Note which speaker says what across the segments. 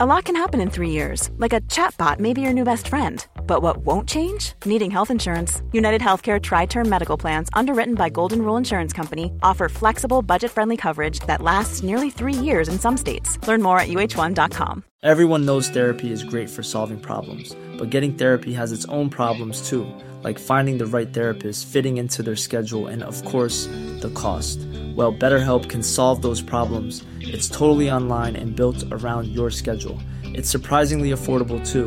Speaker 1: A lot can happen in three years, like a chatbot may be your new best friend. But what won't change? Needing health insurance. United Healthcare Tri Term Medical Plans, underwritten by Golden Rule Insurance Company, offer flexible, budget friendly coverage that lasts nearly three years in some states. Learn more at uh1.com.
Speaker 2: Everyone knows therapy is great for solving problems, but getting therapy has its own problems too, like finding the right therapist, fitting into their schedule, and of course, the cost. Well, BetterHelp can solve those problems. It's totally online and built around your schedule. It's surprisingly affordable too.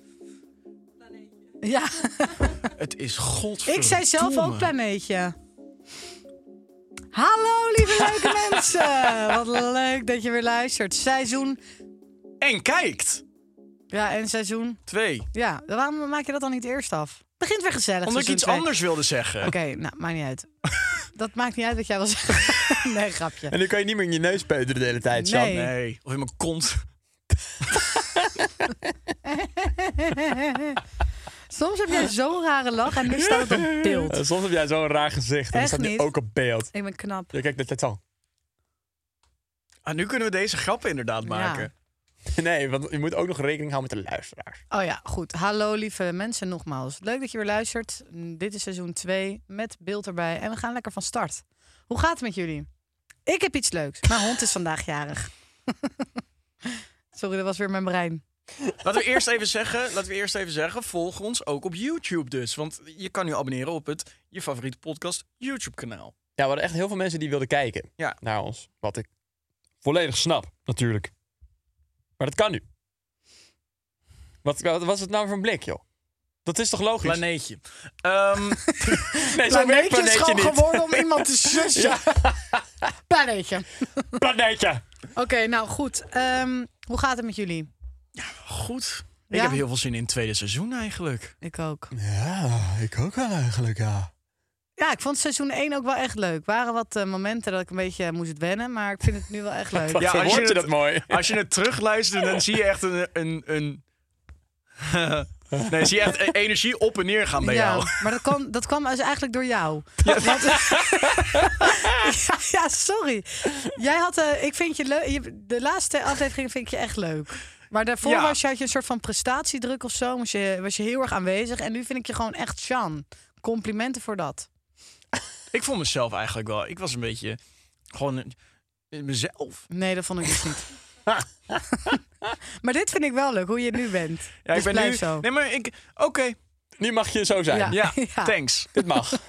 Speaker 3: Ja,
Speaker 4: Het is godverdomme.
Speaker 3: ik zei zelf ook planeetje. Hallo lieve leuke mensen. Wat leuk dat je weer luistert. Seizoen,
Speaker 4: En kijkt.
Speaker 3: ja en seizoen.
Speaker 4: Twee.
Speaker 3: Ja, waarom maak je dat dan niet eerst af? Begint weer gezellig.
Speaker 4: Omdat ik
Speaker 3: seizoen
Speaker 4: iets
Speaker 3: twee.
Speaker 4: anders wilde zeggen.
Speaker 3: Oké, nou, maakt niet uit. dat maakt niet uit wat jij wil zeggen. nee, grapje.
Speaker 5: En dan kan je niet meer in je neus peuteren de hele tijd, Sam.
Speaker 3: Nee.
Speaker 4: Nee. Of in mijn kont.
Speaker 3: Soms heb jij zo'n rare lach en nu staat het op beeld.
Speaker 5: Eh, Soms heb jij zo'n raar gezicht en
Speaker 3: Echt
Speaker 5: dan staat die
Speaker 3: niet.
Speaker 5: ook op beeld.
Speaker 3: Ik ben knap.
Speaker 5: Je kijkt net zo.
Speaker 4: Ah, nu kunnen we deze grappen inderdaad maken.
Speaker 5: Nee, want je moet ook nog rekening houden met de luisteraars.
Speaker 3: Oh ja, goed. Hallo lieve mensen nogmaals. Leuk dat je weer luistert. Mm, Dit is seizoen 2 met beeld erbij. En we gaan lekker van start. Hoe gaat het met jullie? Ik heb iets leuks. Mijn hond is vandaag jarig. Sorry, dat was weer mijn brein.
Speaker 4: Laten we eerst even zeggen, laten we eerst even zeggen, volg ons ook op YouTube dus. Want je kan nu abonneren op het je favoriete podcast YouTube kanaal.
Speaker 5: Ja, we hadden echt heel veel mensen die wilden kijken
Speaker 4: Ja.
Speaker 5: naar ons. Wat ik volledig snap, natuurlijk. Maar dat kan nu. Wat, wat was het nou voor een blik, joh? Dat is toch logisch?
Speaker 4: Planeetje. Ehm,
Speaker 5: nee, zo werkt
Speaker 3: is
Speaker 5: planeetje
Speaker 3: gewoon
Speaker 5: niet.
Speaker 3: geworden om iemand te sussen. Planeetje.
Speaker 5: Planeetje.
Speaker 3: Oké, nou goed. Ehm, hoe gaat het met jullie?
Speaker 4: goed. Ik
Speaker 3: Ja?
Speaker 4: heb heel veel zin in het tweede seizoen eigenlijk.
Speaker 3: Ik ook.
Speaker 5: Ja, ik ook wel eigenlijk, ja.
Speaker 3: Ja, ik vond seizoen 1 ook wel echt leuk. Er waren wat eh, momenten dat ik een beetje moest wennen. Maar ik vind het nu wel echt leuk.
Speaker 5: Wat
Speaker 4: Ja, als je
Speaker 5: verwoord je,
Speaker 4: het-
Speaker 5: dat mooi?
Speaker 4: Als je het terugluistert, dan zie je echt een... een, een nee, zie je echt e- energie op en neer gaan bij jou.
Speaker 3: maar dat kwam, dat kwam dus eigenlijk door jou. Want- ja, ja, sorry. Jij had, eh, ik vind je leuk. je- De laatste aflevering vind ik je echt leuk. Maar daarvoor
Speaker 4: Ja.
Speaker 3: was je, had je een soort van prestatiedruk of zo. Was je, was je heel erg aanwezig. En nu vind ik je gewoon echt Sean. Complimenten voor dat.
Speaker 4: Ik vond mezelf eigenlijk wel. Ik was een beetje gewoon een- mezelf.
Speaker 3: Nee, dat vond ik dus niet. maar dit vind ik wel leuk, hoe je nu bent.
Speaker 4: Ja,
Speaker 3: Dus
Speaker 4: ik ben
Speaker 3: blijf
Speaker 4: nu.
Speaker 3: zo.
Speaker 4: Nee, maar ik. Oké.
Speaker 5: Nu mag je zo zijn.
Speaker 3: Ja.
Speaker 4: Ja,
Speaker 3: Ja.
Speaker 4: Thanks.
Speaker 5: Dit mag.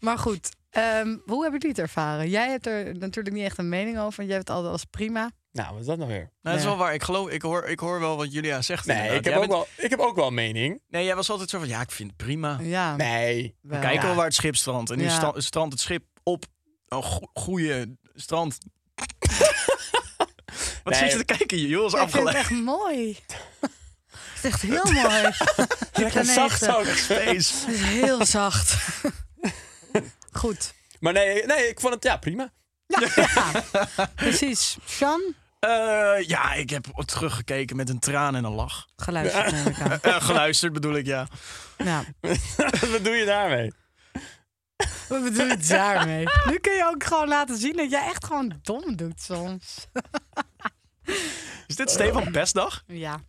Speaker 3: Maar goed, ehm, hoe hebben jullie het ervaren? Jij hebt er natuurlijk niet echt een mening over. want Jij hebt het altijd als prima.
Speaker 5: nou, wat is dat nou weer?
Speaker 4: Nou, dat is
Speaker 3: Ja.
Speaker 4: wel waar. Ik geloof. Ik hoor. Ik hoor wel wat Julia zegt.
Speaker 5: Nee,
Speaker 4: inderdaad.
Speaker 5: ik heb,
Speaker 4: Jij
Speaker 5: ook
Speaker 4: bent-
Speaker 5: wel, ik heb ook wel een mening.
Speaker 4: Nee, jij was altijd zo van. Ja, ik vind het prima. We
Speaker 3: Ja.
Speaker 5: Nee.
Speaker 3: wel.
Speaker 4: kijken wel waar het schip strandt. En nu
Speaker 3: Ja.
Speaker 4: sta- strandt het schip op een go- goede strand. wat
Speaker 5: Nee.
Speaker 4: zit je te kijken? Joh, is
Speaker 3: Ik vind het
Speaker 4: afgeleid.
Speaker 3: echt mooi. Het is echt heel mooi.
Speaker 5: Lekker
Speaker 3: planeten.
Speaker 5: zacht ook.
Speaker 4: Space.
Speaker 3: Het is heel zacht. Goed.
Speaker 5: Maar nee, nee, ik vond het ja, prima.
Speaker 3: Precies. Sean,
Speaker 4: Eh, ja, ik heb teruggekeken met een traan en een lach.
Speaker 3: geluisterd neem ik aan.
Speaker 4: Eh, geluisterd bedoel ik, ja.
Speaker 3: Ja.
Speaker 5: Wat doe je daarmee?
Speaker 3: Wat bedoel je daarmee? Nu kun je ook gewoon laten zien dat jij echt gewoon dom doet soms.
Speaker 4: Is dit Stefan Pestdag?
Speaker 3: Ja.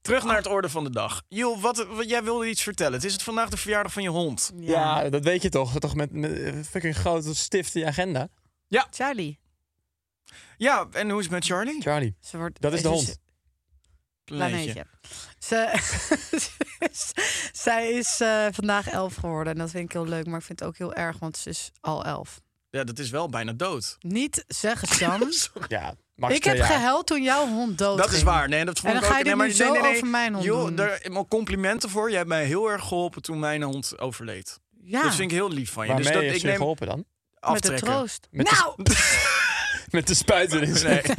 Speaker 4: Terug naar het orde van de dag. Joh, wat, wat- jij wilde iets vertellen. Het is het vandaag de verjaardag van je hond.
Speaker 5: Ja, dat weet je toch. Toch met, met eh, fucking grote stift in je agenda.
Speaker 3: Charlie.
Speaker 4: Ja, en hoe is het met Charlie?
Speaker 5: Charlie,
Speaker 3: Ze wordt,
Speaker 5: dat is de
Speaker 3: ze-
Speaker 5: hond.
Speaker 3: planeetje. Ze, zij is eh, vandaag elf geworden en dat vind ik heel leuk, maar ik vind het ook heel erg, want ze is al elf.
Speaker 4: Ja, dat is wel bijna dood.
Speaker 3: Niet zeggen, Sam.
Speaker 5: Ja, Max
Speaker 3: ik
Speaker 5: twee
Speaker 3: heb
Speaker 5: jaar.
Speaker 3: gehuild toen jouw hond dood
Speaker 4: Dat is waar. Nee, dat vond
Speaker 3: Oh, En
Speaker 4: ik
Speaker 3: dan ga
Speaker 4: ook-
Speaker 3: je
Speaker 4: nee,
Speaker 3: dit nu
Speaker 4: maar-
Speaker 3: zo
Speaker 4: nee, nee, nee.
Speaker 3: over mijn hond
Speaker 4: Joh,
Speaker 3: doen.
Speaker 4: daar maar complimenten voor. Jij hebt mij heel erg geholpen toen mijn hond overleed.
Speaker 3: Ja,
Speaker 4: Dat vind ik heel lief van je.
Speaker 5: Waarmee
Speaker 4: dus dat,
Speaker 5: heeft
Speaker 4: ik
Speaker 5: ze je
Speaker 4: neem
Speaker 5: geholpen dan?
Speaker 3: met de
Speaker 4: aftrekken.
Speaker 3: troost.
Speaker 5: Met de-
Speaker 3: nou,
Speaker 5: Met de spuit erin.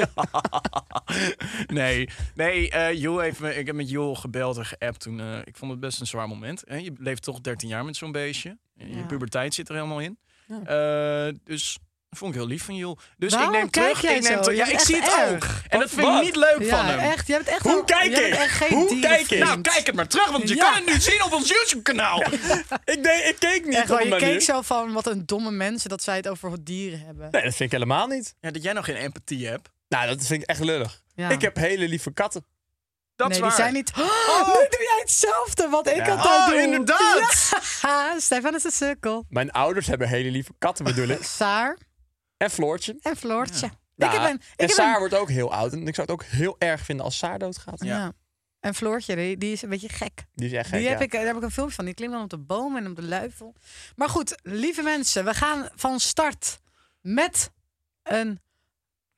Speaker 4: Nee. nee, nee eh, Joel heeft me, ik heb met Joel gebeld en geappt toen. eh, ik vond het best een zwaar moment. Hè? Je leeft toch 13 jaar met zo'n beestje. Eh, Je
Speaker 3: Ja.
Speaker 4: puberteit zit er helemaal in. Eh, dus dat vond ik heel lief van Joel. Dus
Speaker 3: Waarom
Speaker 4: ik neem
Speaker 3: kijk
Speaker 4: terug.
Speaker 3: jij
Speaker 4: ik neem
Speaker 3: zo?
Speaker 4: terug- Ja,
Speaker 3: Je
Speaker 4: ik
Speaker 3: bent
Speaker 4: zie
Speaker 3: echt
Speaker 4: het ook.
Speaker 3: erg.
Speaker 4: En dat vind ik
Speaker 5: Wat?
Speaker 4: niet leuk
Speaker 3: ja,
Speaker 4: van hem.
Speaker 3: Echt, je hebt echt
Speaker 5: Hoe
Speaker 3: een-
Speaker 5: kijk
Speaker 3: je hebt
Speaker 5: ik?
Speaker 3: echt geen
Speaker 5: Hoe
Speaker 3: dier
Speaker 5: kijk ik?
Speaker 4: Nou, kijk het maar terug, want je
Speaker 3: Ja.
Speaker 4: kan het nu zien op ons YouTube-kanaal.
Speaker 5: ik, nee, ik keek niet
Speaker 3: Echt
Speaker 5: op
Speaker 3: wel,
Speaker 5: een
Speaker 3: je
Speaker 5: manier.
Speaker 3: keek zo van wat een domme mensen dat zij het over dieren hebben.
Speaker 5: Nee, dat vind ik helemaal niet.
Speaker 4: Ja, dat jij nog geen empathie hebt.
Speaker 5: Nou, dat vind ik echt lullig.
Speaker 3: Ja.
Speaker 5: Ik heb hele lieve katten.
Speaker 4: Dat
Speaker 3: nee,
Speaker 4: is
Speaker 3: die
Speaker 4: waar.
Speaker 3: zijn niet. Oh, nu doe jij hetzelfde wat ik altijd
Speaker 4: Oh,
Speaker 3: doe.
Speaker 4: inderdaad.
Speaker 3: Ja, Stefan is de sukkel.
Speaker 5: Mijn ouders hebben hele lieve katten, bedoel ik.
Speaker 3: Saar
Speaker 5: En Floortje.
Speaker 3: en Floortje.
Speaker 5: Ja,
Speaker 3: Ik heb een, ik
Speaker 5: en
Speaker 3: heb
Speaker 5: Saar
Speaker 3: een-
Speaker 5: wordt ook heel oud. En ik zou het ook heel erg vinden als Saar doodgaat.
Speaker 3: ja. En Floortje, die, die is een beetje gek.
Speaker 5: Die is echt gek,
Speaker 3: Die heb
Speaker 5: ja.
Speaker 3: ik, daar heb ik een filmpje van. Die klimt dan op de boom en op de luifel. Maar goed, lieve mensen, we gaan van start met een...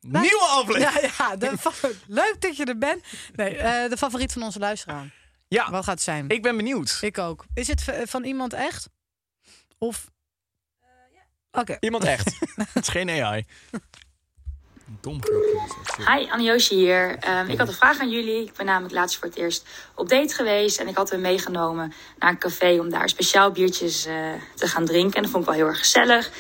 Speaker 4: Nieuwe aflevering.
Speaker 3: Ja, ja de fa- leuk dat je er bent. Nee, eh, de favoriet van onze luisteraar.
Speaker 4: Ja.
Speaker 3: Wat gaat het zijn?
Speaker 4: Ik ben benieuwd.
Speaker 3: Ik ook. Is het v- van iemand echt? Of...
Speaker 4: Eh,
Speaker 3: Oké.
Speaker 5: Iemand echt.
Speaker 4: Het is geen AI. Dom grapje. is dat, sorry.
Speaker 6: Hi, Anne-Joosje hier. Ehm, ik had een vraag aan jullie. Ik ben namelijk laatst voor het eerst op date geweest. En ik had hem meegenomen naar een café om daar speciaal biertjes eh, te gaan drinken. En dat vond ik wel heel erg gezellig.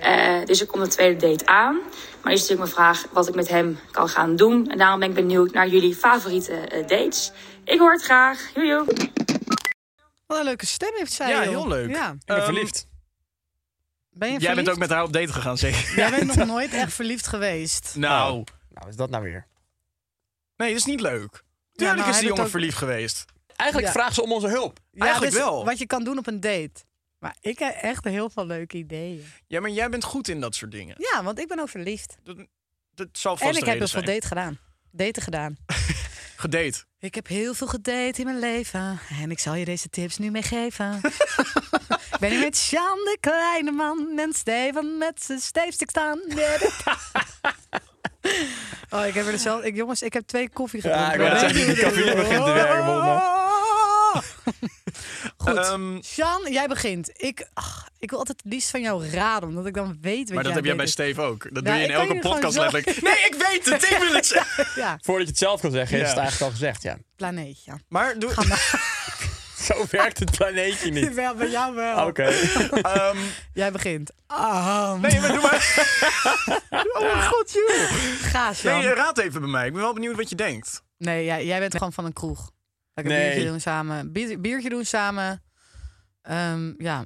Speaker 6: Eh, dus ik kom de tweede date aan. Maar nu is natuurlijk mijn vraag wat ik met hem kan gaan doen. En daarom ben ik benieuwd naar jullie favoriete eh, dates. Ik hoor het graag. Joejoe!
Speaker 3: Wat een leuke stem heeft zij.
Speaker 4: Ja,
Speaker 3: joh.
Speaker 4: heel leuk.
Speaker 3: Ja.
Speaker 5: Ik ben
Speaker 4: Ehm,
Speaker 5: verliefd.
Speaker 3: Ben je
Speaker 4: Jij bent ook
Speaker 3: verliefd?
Speaker 4: met haar op date gegaan, zeker?
Speaker 3: Jij bent nog nooit echt verliefd geweest.
Speaker 4: Nou,
Speaker 5: Nou, is dat nou weer?
Speaker 4: nee, dat is niet leuk.
Speaker 3: Ja,
Speaker 4: Tuurlijk
Speaker 3: nou, hij
Speaker 4: is die
Speaker 3: doet
Speaker 4: jongen
Speaker 3: ook-
Speaker 4: verliefd geweest.
Speaker 5: Eigenlijk
Speaker 3: Ja.
Speaker 5: vraagt ze om onze hulp.
Speaker 3: Ja,
Speaker 4: Eigenlijk
Speaker 3: dus
Speaker 4: wel.
Speaker 3: Wat je kan doen op een date. Maar ik heb echt heel veel leuke ideeën.
Speaker 4: Ja, maar jij bent goed in dat soort dingen.
Speaker 3: Ja, want ik ben ook verliefd.
Speaker 4: Dat, dat zal vast
Speaker 3: en ik
Speaker 4: de
Speaker 3: heb
Speaker 4: reden
Speaker 3: heel veel
Speaker 4: zijn.
Speaker 3: date gedaan. Daten gedaan.
Speaker 4: Gedate.
Speaker 3: Ik heb heel veel gedate in mijn leven. En ik zal je deze tips nu meegeven. ik ben hier met Sjaan de kleine man. En Steven met zijn steefstuk staan. oh, ik heb er zelf... Ik, jongens, ik heb twee koffie gedronken.
Speaker 5: ik wou net zeggen, die cafeïne begint te werken, man.
Speaker 3: Goed.
Speaker 4: Ehm,
Speaker 3: Sjaan, jij begint. Ik, ach, ik wil altijd het liefst van jou raden, omdat ik dan weet wat
Speaker 4: maar dat heb jij bij
Speaker 3: deed.
Speaker 4: Steve ook. Dat
Speaker 3: Ja,
Speaker 4: doe je in
Speaker 3: ik kan
Speaker 4: elke
Speaker 3: je gewoon
Speaker 4: podcast
Speaker 3: zo-
Speaker 4: letterlijk. Nee, ik weet het. Ik wil het zeggen.
Speaker 3: Ja,
Speaker 5: Voordat je het zelf kan zeggen, is het
Speaker 4: Ja.
Speaker 5: eigenlijk al gezegd, ja.
Speaker 3: planeet, ja.
Speaker 4: Maar doe...
Speaker 5: Zo werkt het planeetje niet.
Speaker 3: Wel, bij jou wel.
Speaker 5: Oké.
Speaker 4: ehm,
Speaker 3: Jij begint. Ah,
Speaker 4: nee, maar doe maar... Oh mijn god, joh.
Speaker 3: ga, Sjaan.
Speaker 5: eh,
Speaker 4: Nee, raad even bij mij. Ik ben wel benieuwd wat je denkt.
Speaker 3: Nee, jij, jij bent gewoon van een kroeg. Lekker
Speaker 5: Nee.
Speaker 3: biertje doen samen. Bier- biertje doen samen. Ehm, ja.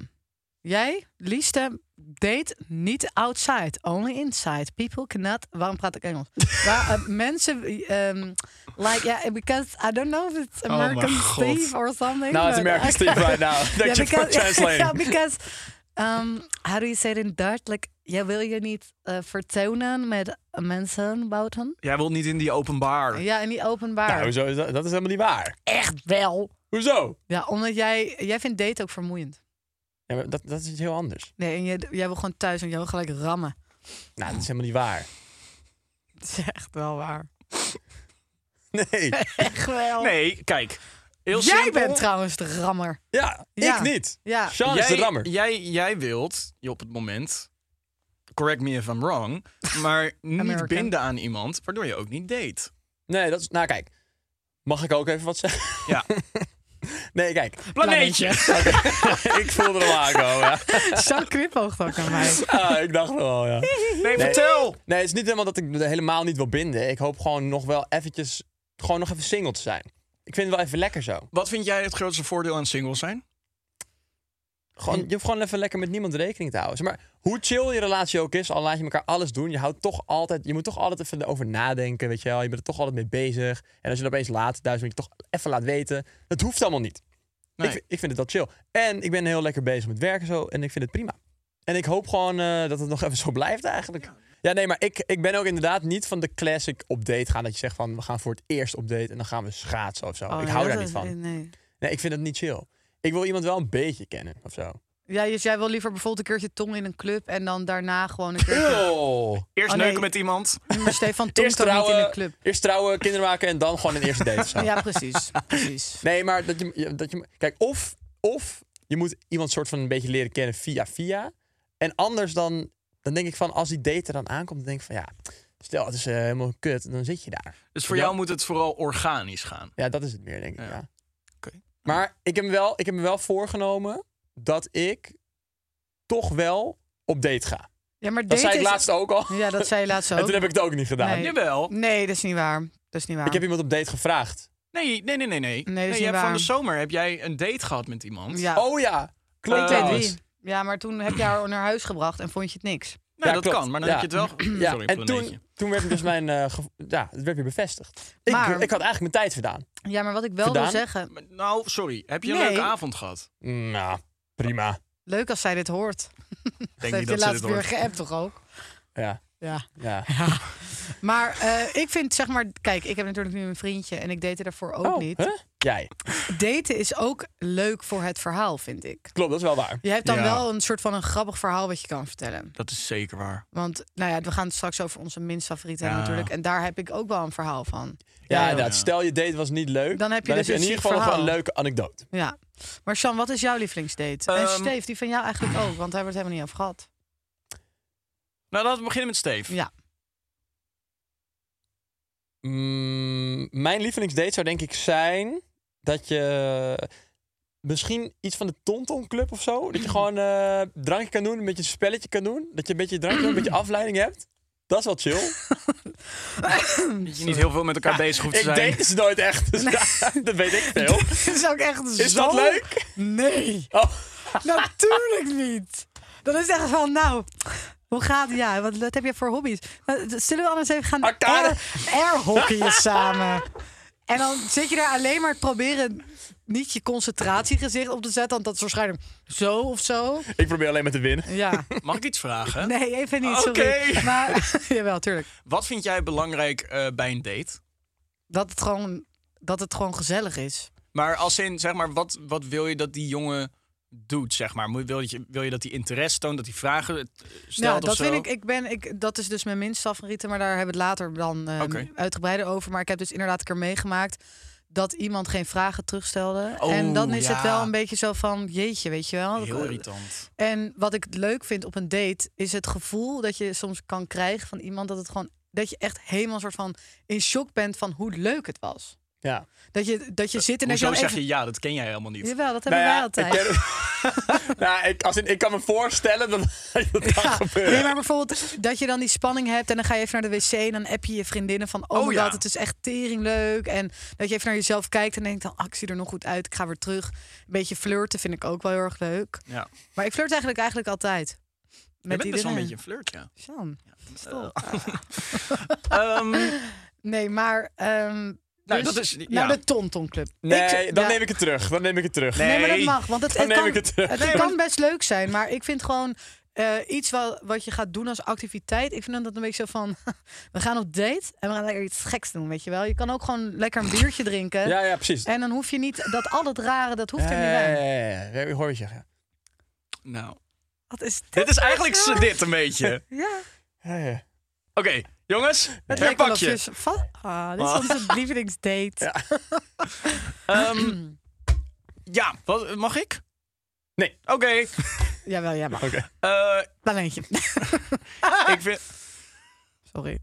Speaker 3: Jij, liefste, date niet outside, only inside. People cannot... Waarom praat ik Engels? Waar, eh, mensen... ehm, like, yeah, because I don't know if it's
Speaker 4: mijn
Speaker 3: American
Speaker 4: God.
Speaker 3: Steve or something.
Speaker 5: Oh Nou, het
Speaker 3: but
Speaker 5: American
Speaker 3: I
Speaker 5: Steve
Speaker 3: can't-
Speaker 5: right now. Thank you for translating.
Speaker 3: yeah, because... ehm, how do you say it in Dutch? Like, jij wil je niet eh, vertonen met mensen buiten?
Speaker 4: Jij wilt niet in die openbaar.
Speaker 3: Ja, en niet openbaar.
Speaker 5: Nou, hoezo is dat, dat is helemaal niet waar.
Speaker 3: Echt wel.
Speaker 5: Hoezo?
Speaker 3: Ja, omdat jij, jij vindt daten ook vermoeiend.
Speaker 5: Ja, maar dat, dat is iets heel anders.
Speaker 3: Nee, en jij, jij wil gewoon thuis en jij wil gelijk rammen.
Speaker 5: Nou, dat is helemaal niet waar.
Speaker 3: Dat is echt wel waar.
Speaker 5: Nee.
Speaker 3: Echt wel.
Speaker 4: Nee, kijk. Heel
Speaker 3: jij
Speaker 4: simpel.
Speaker 3: bent trouwens de rammer.
Speaker 5: Ja,
Speaker 3: Ja.
Speaker 5: ik niet.
Speaker 3: Ja.
Speaker 5: Sean is de rammer.
Speaker 4: Jij, jij wilt je op het moment, correct me if I'm wrong, maar niet
Speaker 3: American.
Speaker 4: binden aan iemand, waardoor je ook niet date.
Speaker 5: Nee, dat is... Nou, kijk. Mag ik ook even wat zeggen?
Speaker 4: Ja.
Speaker 5: Nee, kijk.
Speaker 4: Planeetje.
Speaker 5: ik voelde hem aankomen. Ja.
Speaker 3: Zo knipoog ook aan mij.
Speaker 5: Ah, ik dacht wel, ja.
Speaker 4: Nee, vertel.
Speaker 5: Nee, het is niet helemaal dat ik me helemaal niet wil binden. Ik hoop gewoon nog wel eventjes... Gewoon nog even single te zijn. Ik vind het wel even lekker zo.
Speaker 4: Wat vind jij het grootste voordeel aan single zijn?
Speaker 5: Gewoon, je hoeft gewoon even lekker met niemand rekening te houden. Zeg maar hoe chill je relatie ook is, al laat je elkaar alles doen. Je, houdt toch altijd, je moet toch altijd even over nadenken, weet je wel. Je bent er toch altijd mee bezig. En als je dat opeens laat, duizend je toch even laat weten. Dat hoeft allemaal niet.
Speaker 4: Nee.
Speaker 5: Ik, ik vind het wel chill. En ik ben heel lekker bezig met werken zo. En ik vind het prima. En ik hoop gewoon eh, dat het nog even zo blijft eigenlijk. Ja, nee, maar ik, ik ben ook inderdaad niet van de classic op date gaan. Dat je zegt van, we gaan voor het eerst op date en dan gaan we schaatsen of zo.
Speaker 3: Oh,
Speaker 5: ik hou daar niet van.
Speaker 3: Nee.
Speaker 5: Nee, ik vind dat niet chill. Ik wil iemand wel een beetje kennen of zo.
Speaker 3: Ja, dus jij wil liever bijvoorbeeld een keertje tong in een club en dan daarna gewoon een keertje...
Speaker 5: Ew.
Speaker 4: Eerst
Speaker 3: Oh, nee.
Speaker 4: neuken met iemand.
Speaker 3: Maar Stefan tong
Speaker 5: Eerst
Speaker 3: toch niet in
Speaker 5: trouwen,
Speaker 3: een club?
Speaker 5: eerst trouwen, kinderen maken en dan gewoon een eerste date. of zo.
Speaker 3: Ja, precies. precies.
Speaker 5: Nee, maar dat je, je- dat je... Kijk, of, of je moet iemand soort van een beetje leren kennen via via. En anders dan, dan denk ik van, als die date er dan aankomt, dan denk ik van ja, Stel, het is eh, helemaal kut, dan zit je daar.
Speaker 4: Dus voor
Speaker 5: Ja.
Speaker 4: jou moet het vooral organisch gaan.
Speaker 5: Ja, dat is het meer, denk ik.
Speaker 4: Ja.
Speaker 5: Ja.
Speaker 4: Oké.
Speaker 5: Maar ik heb, me wel, ik heb me wel voorgenomen dat ik toch wel op date ga.
Speaker 3: Ja, maar
Speaker 5: Dat
Speaker 3: daten
Speaker 5: zei ik
Speaker 3: is-
Speaker 5: laatst ook al.
Speaker 3: Ja, dat zei je laatst
Speaker 5: En
Speaker 3: ook.
Speaker 5: toen heb ik het ook niet gedaan.
Speaker 3: Nee.
Speaker 4: Jawel.
Speaker 3: Nee, dat is niet waar. Dat is niet waar.
Speaker 5: Ik heb iemand op date gevraagd.
Speaker 4: Nee, nee, nee, nee. Nee,
Speaker 3: is niet
Speaker 4: je hebt van
Speaker 3: waar.
Speaker 4: de zomer heb jij een date gehad met iemand.
Speaker 3: Ja.
Speaker 5: Oh ja, klopt
Speaker 4: Eh,
Speaker 3: Twee,
Speaker 4: Oh,
Speaker 5: trouwens.
Speaker 3: drie. Ja, maar toen heb je haar naar huis gebracht en vond je het niks.
Speaker 4: Nou, dat
Speaker 5: Ja, klopt.
Speaker 4: kan, maar dan
Speaker 5: Ja.
Speaker 4: heb je het wel...
Speaker 5: Ja,
Speaker 4: Sorry,
Speaker 5: en
Speaker 4: planeetje.
Speaker 5: toen, toen werd dus mijn... eh, ge- ja, het werd weer bevestigd. Ik,
Speaker 3: Maar-
Speaker 5: ik had eigenlijk mijn tijd verdaan.
Speaker 3: Ja, maar wat ik wel wil
Speaker 5: Gedaan?
Speaker 3: zeggen.
Speaker 4: Maar Nou, sorry. Heb je een
Speaker 3: Nee.
Speaker 4: leuke avond gehad?
Speaker 5: Nou, prima.
Speaker 3: Leuk als zij dit hoort.
Speaker 4: Denk
Speaker 3: dat heeft je laatst weer geappt toch ook?
Speaker 5: Ja,
Speaker 3: Ja.
Speaker 5: ja.
Speaker 3: Maar eh, ik vind, zeg maar, kijk, ik heb natuurlijk nu een vriendje en ik date daarvoor ook
Speaker 5: Oh,
Speaker 3: niet.
Speaker 5: hè? Jij.
Speaker 3: Daten is ook leuk voor het verhaal, vind ik.
Speaker 5: Klopt, dat is wel waar.
Speaker 3: Je hebt dan
Speaker 4: Ja.
Speaker 3: wel een soort van een grappig verhaal wat je kan vertellen.
Speaker 4: Dat is zeker waar.
Speaker 3: Want nou ja, we gaan het straks over onze minst favorieten hebben
Speaker 4: Ja.
Speaker 3: natuurlijk. En daar heb ik ook wel een verhaal van.
Speaker 5: Ja,
Speaker 3: Ja,
Speaker 5: inderdaad.
Speaker 4: ja.
Speaker 5: Stel je date was niet leuk.
Speaker 3: Dan heb je dus
Speaker 5: in
Speaker 3: een
Speaker 5: ieder
Speaker 3: ziek
Speaker 5: geval nog wel een
Speaker 3: verhaal.
Speaker 5: leuke anekdote.
Speaker 3: Ja. Maar Sean, wat is jouw lievelingsdate? en
Speaker 4: Ehm,
Speaker 3: Steve, die van jou eigenlijk ook, want daar hebben we het helemaal niet over gehad.
Speaker 4: Nou, laten we beginnen met Steve.
Speaker 3: Ja.
Speaker 5: Mm, mijn lievelingsdate zou denk ik zijn dat je misschien iets van de Tonton Club of zo. Dat je gewoon eh drankje kan doen, een beetje een spelletje kan doen. Dat je een beetje drankje, een beetje afleiding hebt. Dat is wel chill.
Speaker 4: Dat je niet heel veel met elkaar bezig hoeft te
Speaker 5: ik
Speaker 4: zijn.
Speaker 5: date is nooit echt, dus ja, dat weet ik veel.
Speaker 3: Dit is ook echt zo...
Speaker 5: Is dat leuk?
Speaker 3: Nee,
Speaker 5: Oh,
Speaker 3: natuurlijk niet. Dat is echt van, nou, hoe gaat het? Ja, wat, wat heb je voor hobby's? Nou, Zullen we anders even gaan
Speaker 5: Arcade.
Speaker 3: air, airhockeyen samen? En dan zit je daar alleen maar proberen niet je concentratiegezicht op te zetten. Want dat is waarschijnlijk zo of zo.
Speaker 5: ik probeer alleen maar te winnen.
Speaker 3: Ja.
Speaker 4: Mag ik iets vragen?
Speaker 3: Nee, even niet, sorry.
Speaker 4: Oké.
Speaker 3: Maar, jawel, tuurlijk.
Speaker 4: Wat vind jij belangrijk eh, bij een date?
Speaker 3: Dat het gewoon, dat het gewoon gezellig is.
Speaker 4: Maar als in, zeg maar, wat, wat wil je dat die jongen doet, zeg maar? Moet- Wil je, wil je dat hij interesse toont, dat hij vragen eh, stelt
Speaker 3: ja,
Speaker 4: of
Speaker 3: Nou, dat
Speaker 4: zo?
Speaker 3: vind ik. Ik ben, ik, dat is dus mijn minst favoriete, maar daar hebben we het later dan eh,
Speaker 4: Oké.
Speaker 3: uitgebreider over. Maar ik heb dus inderdaad een keer meegemaakt dat iemand geen vragen terugstelde.
Speaker 4: Oh,
Speaker 3: en dan is
Speaker 4: ja.
Speaker 3: het wel een beetje zo van, jeetje, weet je wel.
Speaker 4: Heel irritant.
Speaker 3: En wat ik leuk vind op een date is het gevoel dat je soms kan krijgen van iemand dat het gewoon dat je echt helemaal soort van in shock bent van hoe leuk het was.
Speaker 5: Ja.
Speaker 3: Dat je, dat je zit en dat je
Speaker 4: Eh, Hoezo
Speaker 3: dan
Speaker 4: zeg
Speaker 3: nou, even-
Speaker 4: je Nou ja, dat ken jij helemaal niet?
Speaker 3: Jawel, dat hebben wij altijd.
Speaker 5: Ik, ken- nou, ik, als in, ik kan me voorstellen dat dat kan gebeuren.
Speaker 3: Nee, maar bijvoorbeeld dat je dan die spanning hebt en dan ga je even naar de wc en dan app je je vriendinnen van oh,
Speaker 4: Oh,
Speaker 3: my
Speaker 4: ja.
Speaker 3: god, het is echt tering leuk. En dat je even naar jezelf kijkt en denkt dan ah, ik zie er nog goed uit, ik ga weer terug. Een beetje flirten vind ik ook wel heel erg leuk.
Speaker 4: Ja.
Speaker 3: Maar ik flirt eigenlijk eigenlijk altijd.
Speaker 4: Je
Speaker 3: Met
Speaker 4: bent best wel een beetje
Speaker 3: iedereen.
Speaker 4: een flirt, ja.
Speaker 3: Sjan.
Speaker 4: Ehm,
Speaker 3: Nee, maar ehm, dus
Speaker 4: nou, dat is...
Speaker 3: naar
Speaker 4: Ja.
Speaker 3: de Tonton Club.
Speaker 5: Nee, dan
Speaker 3: ja.
Speaker 5: neem ik het terug. Dan neem ik het terug.
Speaker 4: Nee.
Speaker 3: Nee, maar dat mag, want het,
Speaker 5: Dan
Speaker 3: het
Speaker 5: neem
Speaker 3: kan,
Speaker 5: ik het terug.
Speaker 4: Nee,
Speaker 3: kan best leuk zijn, maar ik vind gewoon eh, iets wat, wat je gaat doen als activiteit. Ik vind dat een beetje zo van, we gaan op date en we gaan lekker iets geks doen, weet je wel. Je kan ook gewoon lekker een biertje drinken
Speaker 5: Ja, ja, precies.
Speaker 3: en dan hoef je niet dat al dat rare, dat hoeft er niet
Speaker 5: Ja,
Speaker 3: bij.
Speaker 5: ja, ja, ja. Ja, ik Eh, hoor je zeggen.
Speaker 4: Nou,
Speaker 3: Wat is dit?
Speaker 4: dit is eigenlijk z'n dit een beetje.
Speaker 3: Ja,
Speaker 5: Ja, ja.
Speaker 4: Oké, jongens,
Speaker 3: het
Speaker 4: het
Speaker 3: lijkt wel of
Speaker 4: pakje.
Speaker 3: je... Van, ah, dit is onze lievelingsdate.
Speaker 4: Ehm, ja, wat, mag ik?
Speaker 5: Nee.
Speaker 4: Oké.
Speaker 3: Jawel, ja, maar.
Speaker 5: Oké.
Speaker 4: eh,
Speaker 3: Planeetje.
Speaker 4: ik vind...
Speaker 3: Sorry.